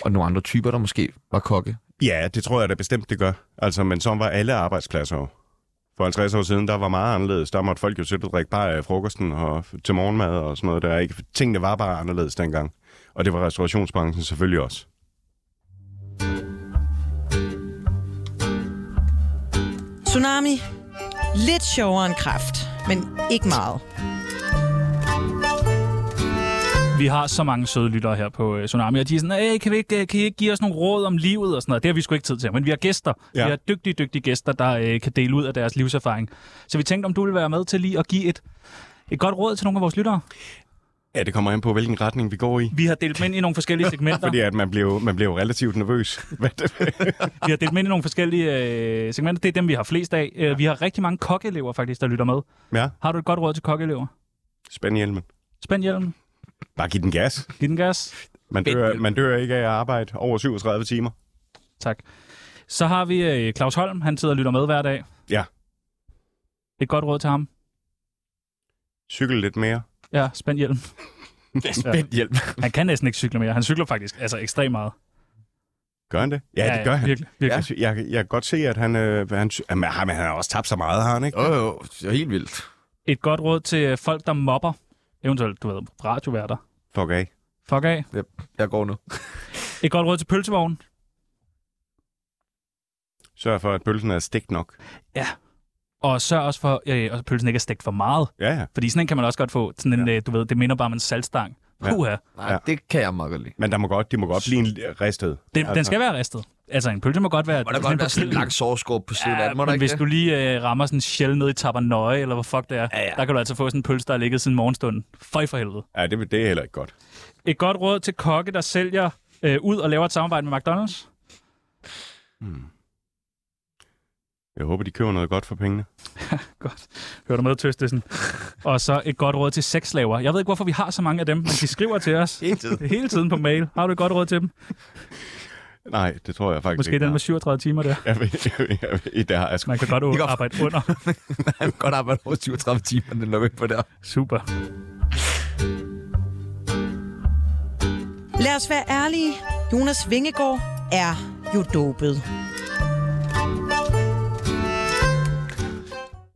Speaker 3: Og nogle andre typer, der måske var kokke.
Speaker 4: Ja, det tror jeg da bestemt, det gør. Altså, men sådan var alle arbejdspladser jo. For 50 år siden, der var meget anderledes. Der måtte folk jo sætte og drikke bare af frokosten og til morgenmad og sådan noget. Der ikke. Tingene var bare anderledes dengang. Og det var restaurationsbranchen selvfølgelig også.
Speaker 6: Tsunami. Lidt sjovere end kraft, men ikke meget.
Speaker 5: Vi har så mange søde lyttere her på øh, Tsunami, og de er sådan, "Æh, kan, vi ikke, øh, kan I ikke give os nogle råd om livet og sådan noget? Det har vi sgu ikke tid til, men vi har gæster. Ja.
Speaker 4: Ja.
Speaker 5: Vi har dygtige, dygtige gæster, der øh, kan dele ud af deres livserfaring. Så vi tænkte, om du ville være med til lige at give et, et godt råd til nogle af vores lyttere.
Speaker 4: Ja, det kommer an på, hvilken retning vi går i.
Speaker 5: Vi har delt dem ind i nogle forskellige segmenter.
Speaker 4: [laughs] Fordi at man blev, man blev relativt nervøs. Hvad det
Speaker 5: Vi har delt dem ind i nogle forskellige øh, segmenter. Det er dem, vi har flest af. Øh, Vi har rigtig mange kokkeelever faktisk, der lytter med.
Speaker 4: [laughs] Ja.
Speaker 5: Har du et godt råd til kokkeelever?
Speaker 4: Spænd hjelmen.
Speaker 5: Spænd hjelmen.
Speaker 4: Bare giv den gas.
Speaker 5: Giv den gas.
Speaker 4: Man dør, man dør ikke af at arbejde over 37 timer.
Speaker 5: Tak. Så har vi øh, Claus Holm. Han sidder og lytter med hver dag.
Speaker 4: Ja.
Speaker 5: Et godt råd til ham.
Speaker 4: Cykel lidt [laughs] mere.
Speaker 5: Ja, spænd hjelm.
Speaker 3: Spænd hjelm.
Speaker 5: Han kan næsten ikke cykle mere. Han cykler faktisk altså ekstremt meget.
Speaker 4: Gør han det? Ja,
Speaker 5: Ja,
Speaker 4: det gør
Speaker 5: ja,
Speaker 4: han.
Speaker 5: virkelig, virkelig.
Speaker 4: Altså, Jeg, jeg kan godt se, at han, øh, han, jamen, han, han har også tabt så meget, har han ikke?
Speaker 3: Jo, jo, det er helt vildt.
Speaker 5: Et godt råd til øh, folk, der mobber. Eventuelt, du ved, radioværter.
Speaker 4: Fuck af.
Speaker 5: Fuck af.
Speaker 3: Yep, jeg går nu.
Speaker 5: Et godt råd til pølsevognen.
Speaker 4: Sørg for, at pølsen er stegt nok.
Speaker 5: Og sørg også for, øh, at pølsen ikke er stegt for meget.
Speaker 4: Ja, ja.
Speaker 5: øh, Fordi sådan en kan man også godt få. Sådan en, ja. du ved, det minder bare om en saltstang. Puha.
Speaker 4: Nej, det kan jeg meget godt lide. Men der må godt, de må godt blive en ristet.
Speaker 5: Den, den skal være ristet. Altså, en pølse må godt være...
Speaker 4: Må der godt være sådan en lang
Speaker 3: sovskål på
Speaker 4: siden af den, må der
Speaker 5: men
Speaker 4: ikke
Speaker 5: hvis
Speaker 4: det?
Speaker 3: [laughs]
Speaker 5: du lige øh, rammer sådan en shell ned i Tabernøje, eller hvor fuck det er, ja, ja. der kan du altså få sådan en pølse, der er ligget siden morgenstunden. Føj for helvede.
Speaker 4: Ja, det, det er heller ikke godt.
Speaker 5: Et godt råd til kokke, der sælger øh, ud og laver et samarbejde med McDonald's.
Speaker 4: Hmm. Jeg håber, de køber noget godt for pengene.
Speaker 5: godt. Hører du med, Tøstesen? og så et godt råd til sexslaver. Jeg ved ikke, hvorfor vi har så mange af dem, men de skriver til
Speaker 4: [laughs]
Speaker 5: os.
Speaker 4: Hele tiden.
Speaker 5: Hele tiden på mail. Har du et godt råd til dem?
Speaker 4: Nej, det tror jeg faktisk
Speaker 5: Måske
Speaker 4: ikke.
Speaker 5: den med 37 timer der.
Speaker 4: [laughs] Jeg ved, jeg ved, jeg ved, der har jeg sgu-
Speaker 5: Man kan godt
Speaker 4: [laughs]
Speaker 5: arbejde under.
Speaker 3: Man kan godt arbejde over 37 timer, den lukker på der.
Speaker 5: Super.
Speaker 6: Lad os være ærlige. Jonas Vingegaard er jo dopet.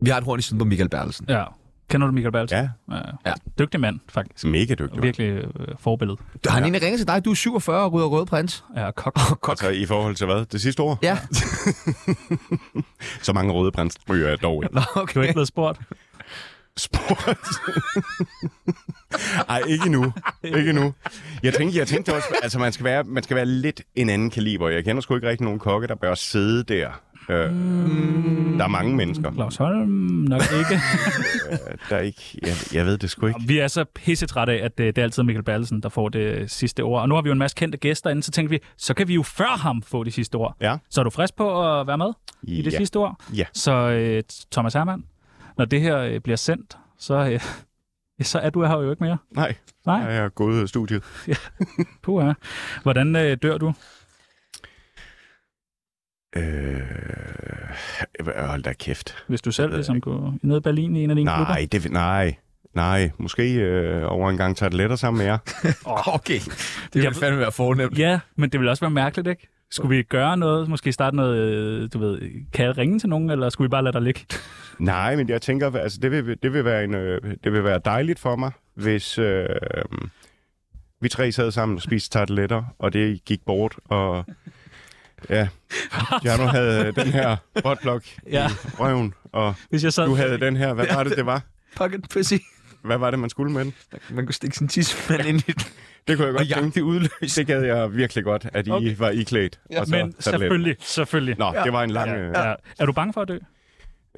Speaker 3: Vi har et horn i siden på Michael Berlsen.
Speaker 5: Ja. Kender du Michael Berlsen?
Speaker 4: Ja. Mm.
Speaker 5: ja. Dygtig mand, faktisk.
Speaker 4: Mega dygtig.
Speaker 5: Virkelig øh, forbillede.
Speaker 3: Har han egentlig ringet til dig? Du er 47 og rydder røde prins.
Speaker 4: [laughs]
Speaker 5: Ja, kok.
Speaker 4: Godt. Altså i forhold til hvad? Det sidste år?
Speaker 3: Ja.
Speaker 4: Så mange røde prins ryger jeg dog ikke.
Speaker 5: Du er ikke blevet spurgt.
Speaker 4: Ej, ikke nu. Ikke nu. Jeg tænkte, jeg tænkte også, altså man skal, være, man skal være lidt en anden kaliber. Jeg kender sgu ikke rigtig nogen kokke, der bør sidde der. Øh,
Speaker 5: Mm.
Speaker 4: Der er mange mennesker,
Speaker 5: Claus Holm nok ikke.
Speaker 4: øh, der ikke... Jeg, jeg ved det sgu ikke.
Speaker 5: [laughs] vi er så pisse trætte af, at øh, det er altid Michael Berlesen, der får det øh, sidste ord. Og nu har vi jo en masse kendte gæster inde, så tænkte vi, så kan vi jo før ham få det sidste ord.
Speaker 4: Ja.
Speaker 5: Så er du frisk på at være med i det
Speaker 4: Ja.
Speaker 5: sidste ord?
Speaker 4: Ja.
Speaker 5: Så øh, Thomas Hermann, når det her øh, bliver sendt, så, øh, [laughs] så er du her jo ikke mere.
Speaker 4: Nej.
Speaker 5: Nej.
Speaker 4: Jeg er gået ud af studiet.
Speaker 5: Puha. Hvordan øh, dør du?
Speaker 4: Øh, hold da kæft.
Speaker 5: Hvis du selv ligesom går ned i Berlin i en af dine klubber?
Speaker 4: Nej, det, nej, nej. Måske øh, over en gang tager det lettere sammen med jer.
Speaker 3: [laughs] Okay. Det vil fandme være fornemt.
Speaker 5: Ja, men det ville også være mærkeligt, ikke? Skulle vi gøre noget? Måske starte noget, øh, du ved, kan jeg ringe til nogen, eller skulle vi bare lade dig ligge?
Speaker 4: Nej, men jeg tænker, altså, det, vil, det, vil være en, øh, det vil være dejligt for mig, hvis øh, vi tre sad sammen og spiste tarteletter, og det gik bort, og ja, jeg nu havde øh, den her botblok ja.
Speaker 5: Ja.
Speaker 4: i røven, og
Speaker 5: Hvis jeg sad-
Speaker 4: du havde den her. Hvad
Speaker 3: Ja,
Speaker 4: var det, det var?
Speaker 3: Pocket pussy.
Speaker 4: Hvad var det, man skulle med den?
Speaker 3: Man kunne stikke sin tidsmand ind i den.
Speaker 4: Det kunne jeg godt
Speaker 3: Og jagte
Speaker 4: udløst. Det gad jeg virkelig godt, at I okay.
Speaker 5: Okay.
Speaker 4: var iklædt.
Speaker 5: Ja.
Speaker 4: og så
Speaker 5: Men
Speaker 4: tarteletter.
Speaker 5: selvfølgelig, selvfølgelig.
Speaker 4: Nå, det var en lang... øh,
Speaker 5: Ja. Ja. Er du bange for at dø?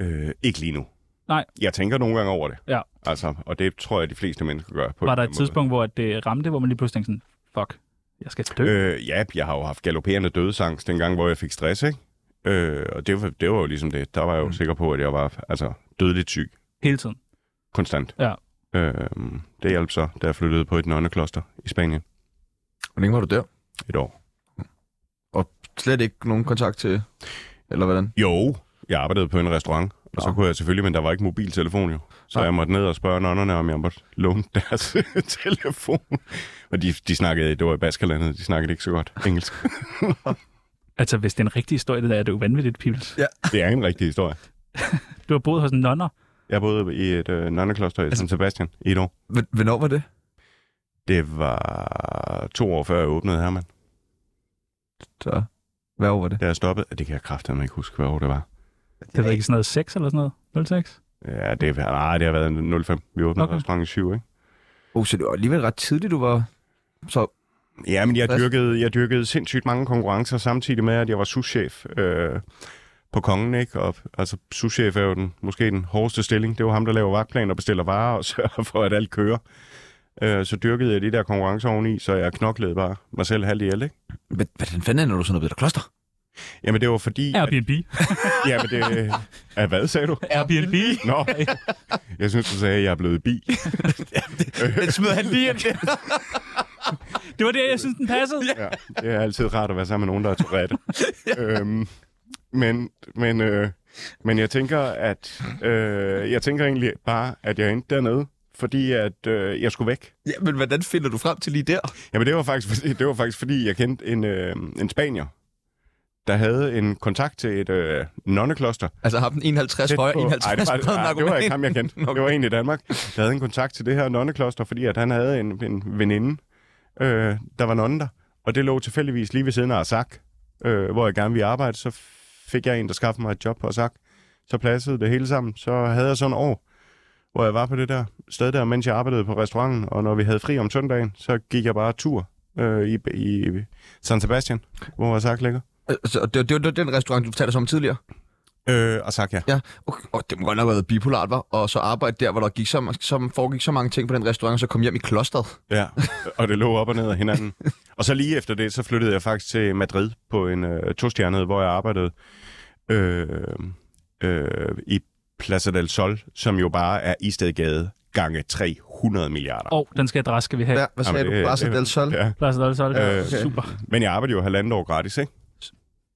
Speaker 4: Øh, ikke lige nu.
Speaker 5: Nej.
Speaker 4: Jeg tænker nogle gange over det.
Speaker 5: Ja.
Speaker 4: Altså, og det tror jeg, de fleste mennesker gør. På
Speaker 5: Var
Speaker 4: den
Speaker 5: der
Speaker 4: måde.
Speaker 5: et tidspunkt, hvor at det ramte, hvor man lige pludselig tænkte sådan, fuck, jeg skal dø?
Speaker 4: Øh, ja, jeg har jo haft galopperende dødsangst den gang, hvor jeg fik stress, ikke? Øh, og det var, det var jo ligesom det. Der var jeg jo mm. sikker på, at jeg var altså, dødeligt syg.
Speaker 5: Hele tiden?
Speaker 4: Konstant.
Speaker 5: Ja.
Speaker 4: Øh, det hjalp så, da jeg flyttede på et nonnekloster i Spanien.
Speaker 3: Hvor længe var du der?
Speaker 4: Et år.
Speaker 3: Og slet ikke nogen kontakt til... Eller hvordan?
Speaker 4: Jo, jeg arbejdede på en restaurant, og så kunne jeg selvfølgelig, men der var ikke mobiltelefon jo. Så jeg måtte ned og spørge nonnerne, om jeg måtte låne deres [laughs] telefon. Og de, de snakkede, det var i Baskerlandet, de snakkede ikke så godt engelsk.
Speaker 5: Altså, hvis det er en rigtig historie, det der, er det jo vanvittigt, Pibels.
Speaker 3: Ja.
Speaker 4: Det er en rigtig historie.
Speaker 5: Du har boet hos nonner.
Speaker 4: Jeg boede i et øh, nonnekloster i San Sebastian i et år.
Speaker 3: Hv- Hvornår var det?
Speaker 4: Det var to år før jeg åbnede Herman.
Speaker 3: Så, hvad år var det?
Speaker 4: Da jeg stoppede, det kan jeg kraftedeme ikke huske, hvad år det var.
Speaker 5: Det var ikke sådan noget 6 eller sådan noget? 06?
Speaker 4: Ja, det, var- nej, det har været 05. Vi åbnede okay.
Speaker 5: Okay.
Speaker 4: restauranten i 7, ikke?
Speaker 3: Oh, så det var alligevel ret tidligt, du var... Så
Speaker 4: Ja, men jeg
Speaker 3: Hvad?
Speaker 4: dyrkede, jeg dyrkede sindssygt mange konkurrencer, samtidig med, at jeg var souschef øh, på Kongen, ikke? Og, altså, souschef er jo den, måske den hårdeste stilling. Det var ham, der laver vagtplan og bestiller varer og [laughs] sørger for, at alt kører. Øh, så dyrkede jeg de der konkurrencer oveni, så jeg knoklede bare mig selv halvt ihjel, ikke?
Speaker 3: Hvad, hvordan fanden er det, når du sådan noget ved kloster?
Speaker 4: Jamen, det var fordi... at-
Speaker 5: Airbnb.
Speaker 4: Ja, men det... Ja, hvad sagde du? [laughs]
Speaker 5: Airbnb.
Speaker 4: Nå, jeg synes, du sagde, at jeg er blevet bi.
Speaker 3: Den smider han lige ind.
Speaker 5: [laughs] Det var det, jeg synes, den passede.
Speaker 4: Ja, det er altid rart at være sammen med nogen, der er Tourette. øhm, men, men, øh, men jeg tænker, at øh, jeg tænker egentlig bare, at jeg endte dernede, fordi at, øh, jeg skulle væk.
Speaker 3: Ja, men hvordan finder du frem til lige der?
Speaker 4: Jamen, det var faktisk, fordi- det var faktisk fordi jeg kendte en, øh, en spanier, der havde en kontakt til et øh, nonnekloster.
Speaker 3: Altså har den 51 højre,
Speaker 4: Ej, det,
Speaker 3: 51 [laughs]
Speaker 4: var,
Speaker 3: bred
Speaker 4: ej, det var ikke ham, jeg kendte. Det var en i Danmark, der havde en kontakt til det her nonnekloster, fordi at han havde en, en veninde, øh, der var nonne der. Og det lå tilfældigvis lige ved siden af Asak, øh, hvor jeg gerne ville arbejde. Så fik jeg en, der skaffede mig et job på Asak. Så pladsede det hele sammen. Så havde jeg sådan et år, hvor jeg var på det der sted der, mens jeg arbejdede på restauranten. Og når vi havde fri om søndagen, så gik jeg bare tur øh, i, i San Sebastian, hvor Asak ligger.
Speaker 3: Altså, og det, det, det var den restaurant, du fortalte os om tidligere?
Speaker 4: Øh, Asak, ja.
Speaker 3: Ja, okay. Og det må godt nok have været bipolart, var. Og så arbejde der, hvor der gik så, som foregik så mange ting på den restaurant, og så kom hjem i klosteret.
Speaker 4: Ja, og det lå op og ned af hinanden. og så lige efter det, så flyttede jeg faktisk til Madrid på en øh, tostjernet, hvor jeg arbejdede øh, øh, i Plaza del Sol, som jo bare er Istedgade gange 300 milliarder.
Speaker 5: Og den skal adresse skal vi have. Ja,
Speaker 4: hvad sagde Jamen, du? det- Plaza det- del Sol? ja.
Speaker 5: Plaza del
Speaker 4: Øh,
Speaker 5: Sol, ja. Okay. Super.
Speaker 4: Men jeg arbejder jo halvandet år gratis, ikke?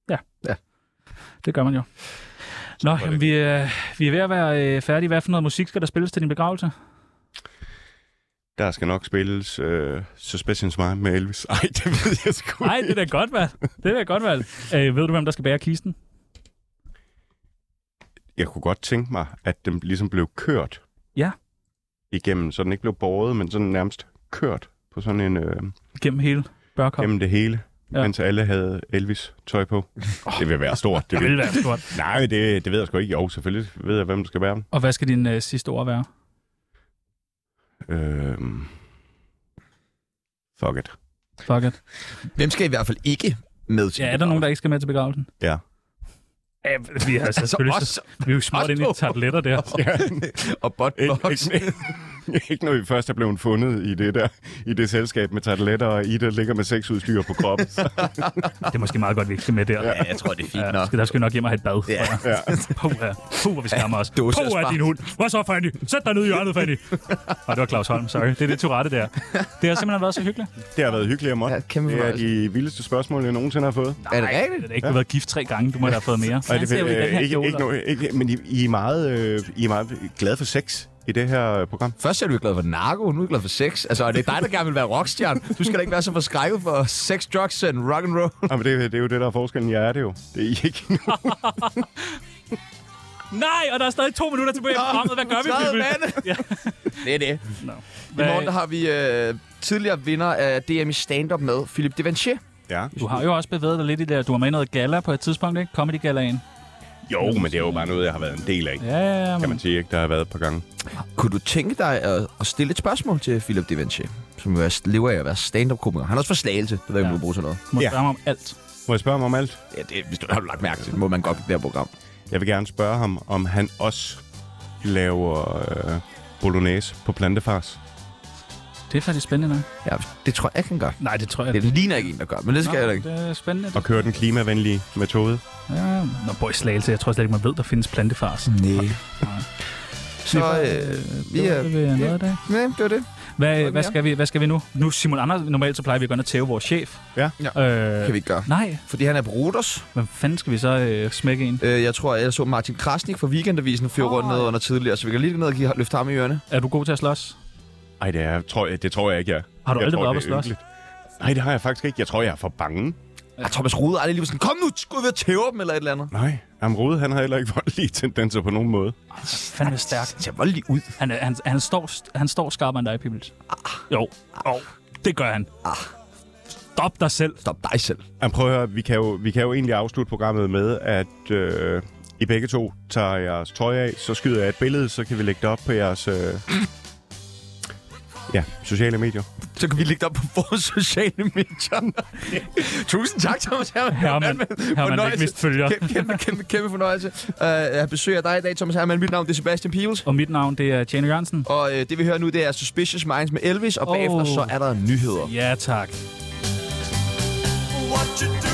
Speaker 5: Ja. ja. Det gør man jo. Nå, jamen, vi, øh, vi er ved at være øh, færdige. Hvad for noget musik skal der spilles til din begravelse?
Speaker 4: Der skal nok spilles øh, Suspicions Mind med Elvis. Ej, det ved jeg sgu
Speaker 5: Nej, det er da godt valgt. Det er da godt valgt. Øh, ved du, hvem der skal bære kisten?
Speaker 4: Jeg kunne godt tænke mig, at den ligesom blev kørt
Speaker 5: Ja.
Speaker 4: igennem, så den ikke blev båret, men sådan nærmest kørt på sådan en... Øh,
Speaker 5: Gennem hele børkop.
Speaker 4: gennem det hele,
Speaker 5: Ja.
Speaker 4: ja. mens alle havde Elvis-tøj på. Det vil være stort.
Speaker 5: Det vil være stort.
Speaker 4: Nej, det, det ved jeg sgu ikke. Jo, selvfølgelig ved jeg, hvem der skal bære dem.
Speaker 5: Og hvad skal dine øh, sidste ord være?
Speaker 4: Øhm... Fuck it.
Speaker 5: Fuck it.
Speaker 3: Hvem skal i hvert fald ikke med til
Speaker 5: Ja, er der nogen, der ikke skal med til begravelsen?
Speaker 4: Ja.
Speaker 5: Ja, vi har
Speaker 3: Altså,
Speaker 5: selvfølgelig...
Speaker 3: os-
Speaker 5: så, vi er jo smurt ind i tartletter [laughs] der.
Speaker 4: [laughs]
Speaker 3: og botbox.
Speaker 4: Ikke, ikke, ikke når vi først er blevet fundet i det der, i det selskab med tarteletter, og I der ligger med sexudstyr på
Speaker 5: [laughs]
Speaker 4: kroppen. det
Speaker 5: er måske meget godt, vi ikke skal med der.
Speaker 3: Ja, jeg tror, det er fint
Speaker 5: Ja,
Speaker 3: nok.
Speaker 5: skal, der skal vi nok hjem og have et bad.
Speaker 3: Ja.
Speaker 5: tror jeg. Puh, ja. Puh, hvor vi skammer os.
Speaker 3: Dåse
Speaker 5: Puh,
Speaker 3: og
Speaker 5: er
Speaker 3: spar.
Speaker 5: din hund. Hvad så, Fanny? Sæt dig ned i hjørnet, Fanny. Og det var Claus Holm, sorry. Det er det Tourette
Speaker 3: [laughs]
Speaker 5: der. Det har simpelthen været så hyggeligt.
Speaker 4: Det har været hyggeligt at måtte. Ja,
Speaker 5: kæmpe
Speaker 4: det er
Speaker 5: fornøjelse.
Speaker 4: de vildeste spørgsmål, jeg nogensinde har fået.
Speaker 5: Er det rigtigt? Det er da ikke, du har været gift tre gange. Du må da have fået mere.
Speaker 4: Nej, det
Speaker 5: Han
Speaker 4: øh,
Speaker 5: ser jo i den her
Speaker 3: øh,
Speaker 4: ikke, ikke,
Speaker 5: kjole.
Speaker 4: ikke, noget- ikke, men I, I, er meget, øh, I er meget glade for sex i det her øh, program.
Speaker 3: Først er du glad for narko, nu er du glad for sex. Altså, og det er dig, der gerne vil være rockstjerne. Du skal da ikke være så forskrækket for sex, drugs and rock and roll.
Speaker 4: Jamen, Ah, det, det er jo det, der er forskellen. Jeg er det jo. Det er I ikke.
Speaker 5: Nej, og der er stadig to minutter tilbage i programmet. Hvad gør vi?
Speaker 3: Træde
Speaker 5: Bibel?
Speaker 3: mande.
Speaker 5: Ja.
Speaker 3: Det er det.
Speaker 5: No.
Speaker 3: I morgen der har vi øh, tidligere vinder af DM i stand-up med Philip Devanché.
Speaker 4: [laughs] Ja.
Speaker 5: Du har jo også bevæget dig lidt i det. der. Du var med i noget gala på et tidspunkt, ikke? Comedy galaen.
Speaker 4: Jo, men det er jo bare noget, jeg har været en del af.
Speaker 5: Ja, ja, ja,
Speaker 4: kan
Speaker 5: men-
Speaker 4: man sige, ikke? Der har jeg været et par gange.
Speaker 3: Kunne du tænke dig at, at stille et spørgsmål til Philip Devanché, som jo er, lever af at være stand-up-komiker? Han er også for slagelse, det ved jeg, om du bruger til noget.
Speaker 5: Du må spørge ham om alt.
Speaker 4: Må jeg spørge ham om alt?
Speaker 3: Ja, det, hvis du har du lagt mærke til, det, må man godt i det her program.
Speaker 4: Jeg vil gerne spørge ham, om han også laver øh, bolognese på plantefars.
Speaker 5: Det er faktisk spændende nok.
Speaker 3: Ja, det tror jeg ikke, han gør.
Speaker 5: Nej, det tror jeg
Speaker 3: Det ligner ikke en, der gør, men det skal
Speaker 5: Nå,
Speaker 3: jeg da ikke.
Speaker 5: Det er spændende.
Speaker 4: Og kører den klimavenlige metode.
Speaker 5: Ja, Nå, boy, slagelse. Jeg tror slet ikke, man ved, der findes plantefars.
Speaker 3: Nej.
Speaker 5: Så øh, vi er... Det var noget i dag.
Speaker 3: Ja, det var det.
Speaker 5: Hvad, hvad, skal vi, hvad skal vi nu? Nu, Simon Anders, normalt så plejer vi at gå ind og tæve vores chef.
Speaker 4: Ja.
Speaker 5: Øh,
Speaker 3: kan vi ikke gøre.
Speaker 5: Nej.
Speaker 3: Fordi han er på Roters.
Speaker 5: Hvem fanden skal vi så øh, smække en?
Speaker 3: Øh, jeg tror, jeg så Martin Krasnik fra Weekendavisen fyre rundt ned under tidligere, så vi kan lige gå ned og give, løfte ham i ørerne.
Speaker 5: Er du god til at slås?
Speaker 4: Ej, det, er, tror jeg, det tror jeg ikke, jeg
Speaker 5: Har du
Speaker 4: jeg
Speaker 5: aldrig
Speaker 4: tror,
Speaker 5: været
Speaker 4: det
Speaker 5: oppe
Speaker 4: er
Speaker 5: at slås?
Speaker 4: ynkeligt. Nej, det har jeg faktisk ikke. Jeg tror, jeg er for bange.
Speaker 3: Ja. Thomas Rude er aldrig lige sådan, kom nu, skud ved at tæve dem eller et eller andet.
Speaker 4: Nej, Jamen, Rode, han har heller ikke voldelige tendenser på nogen måde.
Speaker 5: Fanden er stærk. Han
Speaker 3: ser voldelig ud.
Speaker 5: Han, er- han, han, står, st- han står skarpere end dig, Pibbles. Jo. Jo. Det gør han. Stop dig selv.
Speaker 3: Stop dig selv.
Speaker 4: Jamen, prøv at høre, vi kan, jo, vi kan jo egentlig afslutte programmet med, at øh, I begge to tager jeres tøj af, så skyder jeg et billede, så kan vi lægge det op på jeres øh, ja, sociale medier.
Speaker 3: Så kan vi lægge det op på vores sociale medier. [laughs] Tusind tak, Thomas Hermann.
Speaker 5: Hermann, Hermann
Speaker 3: Fornøjelse.
Speaker 5: ikke mist følger.
Speaker 3: Kæmpe, kæmpe, kæmpe, kæmpe fornøjelse. Uh, jeg besøger dig i dag, Thomas Hermann. Mit navn det er Sebastian Pibels.
Speaker 5: Og mit navn det er Tjane Jørgensen.
Speaker 3: Og øh, det vi hører nu, det er Suspicious Minds med Elvis, og bagefter
Speaker 5: Åh.
Speaker 3: så er der nyheder.
Speaker 5: Ja, tak.
Speaker 13: What you do?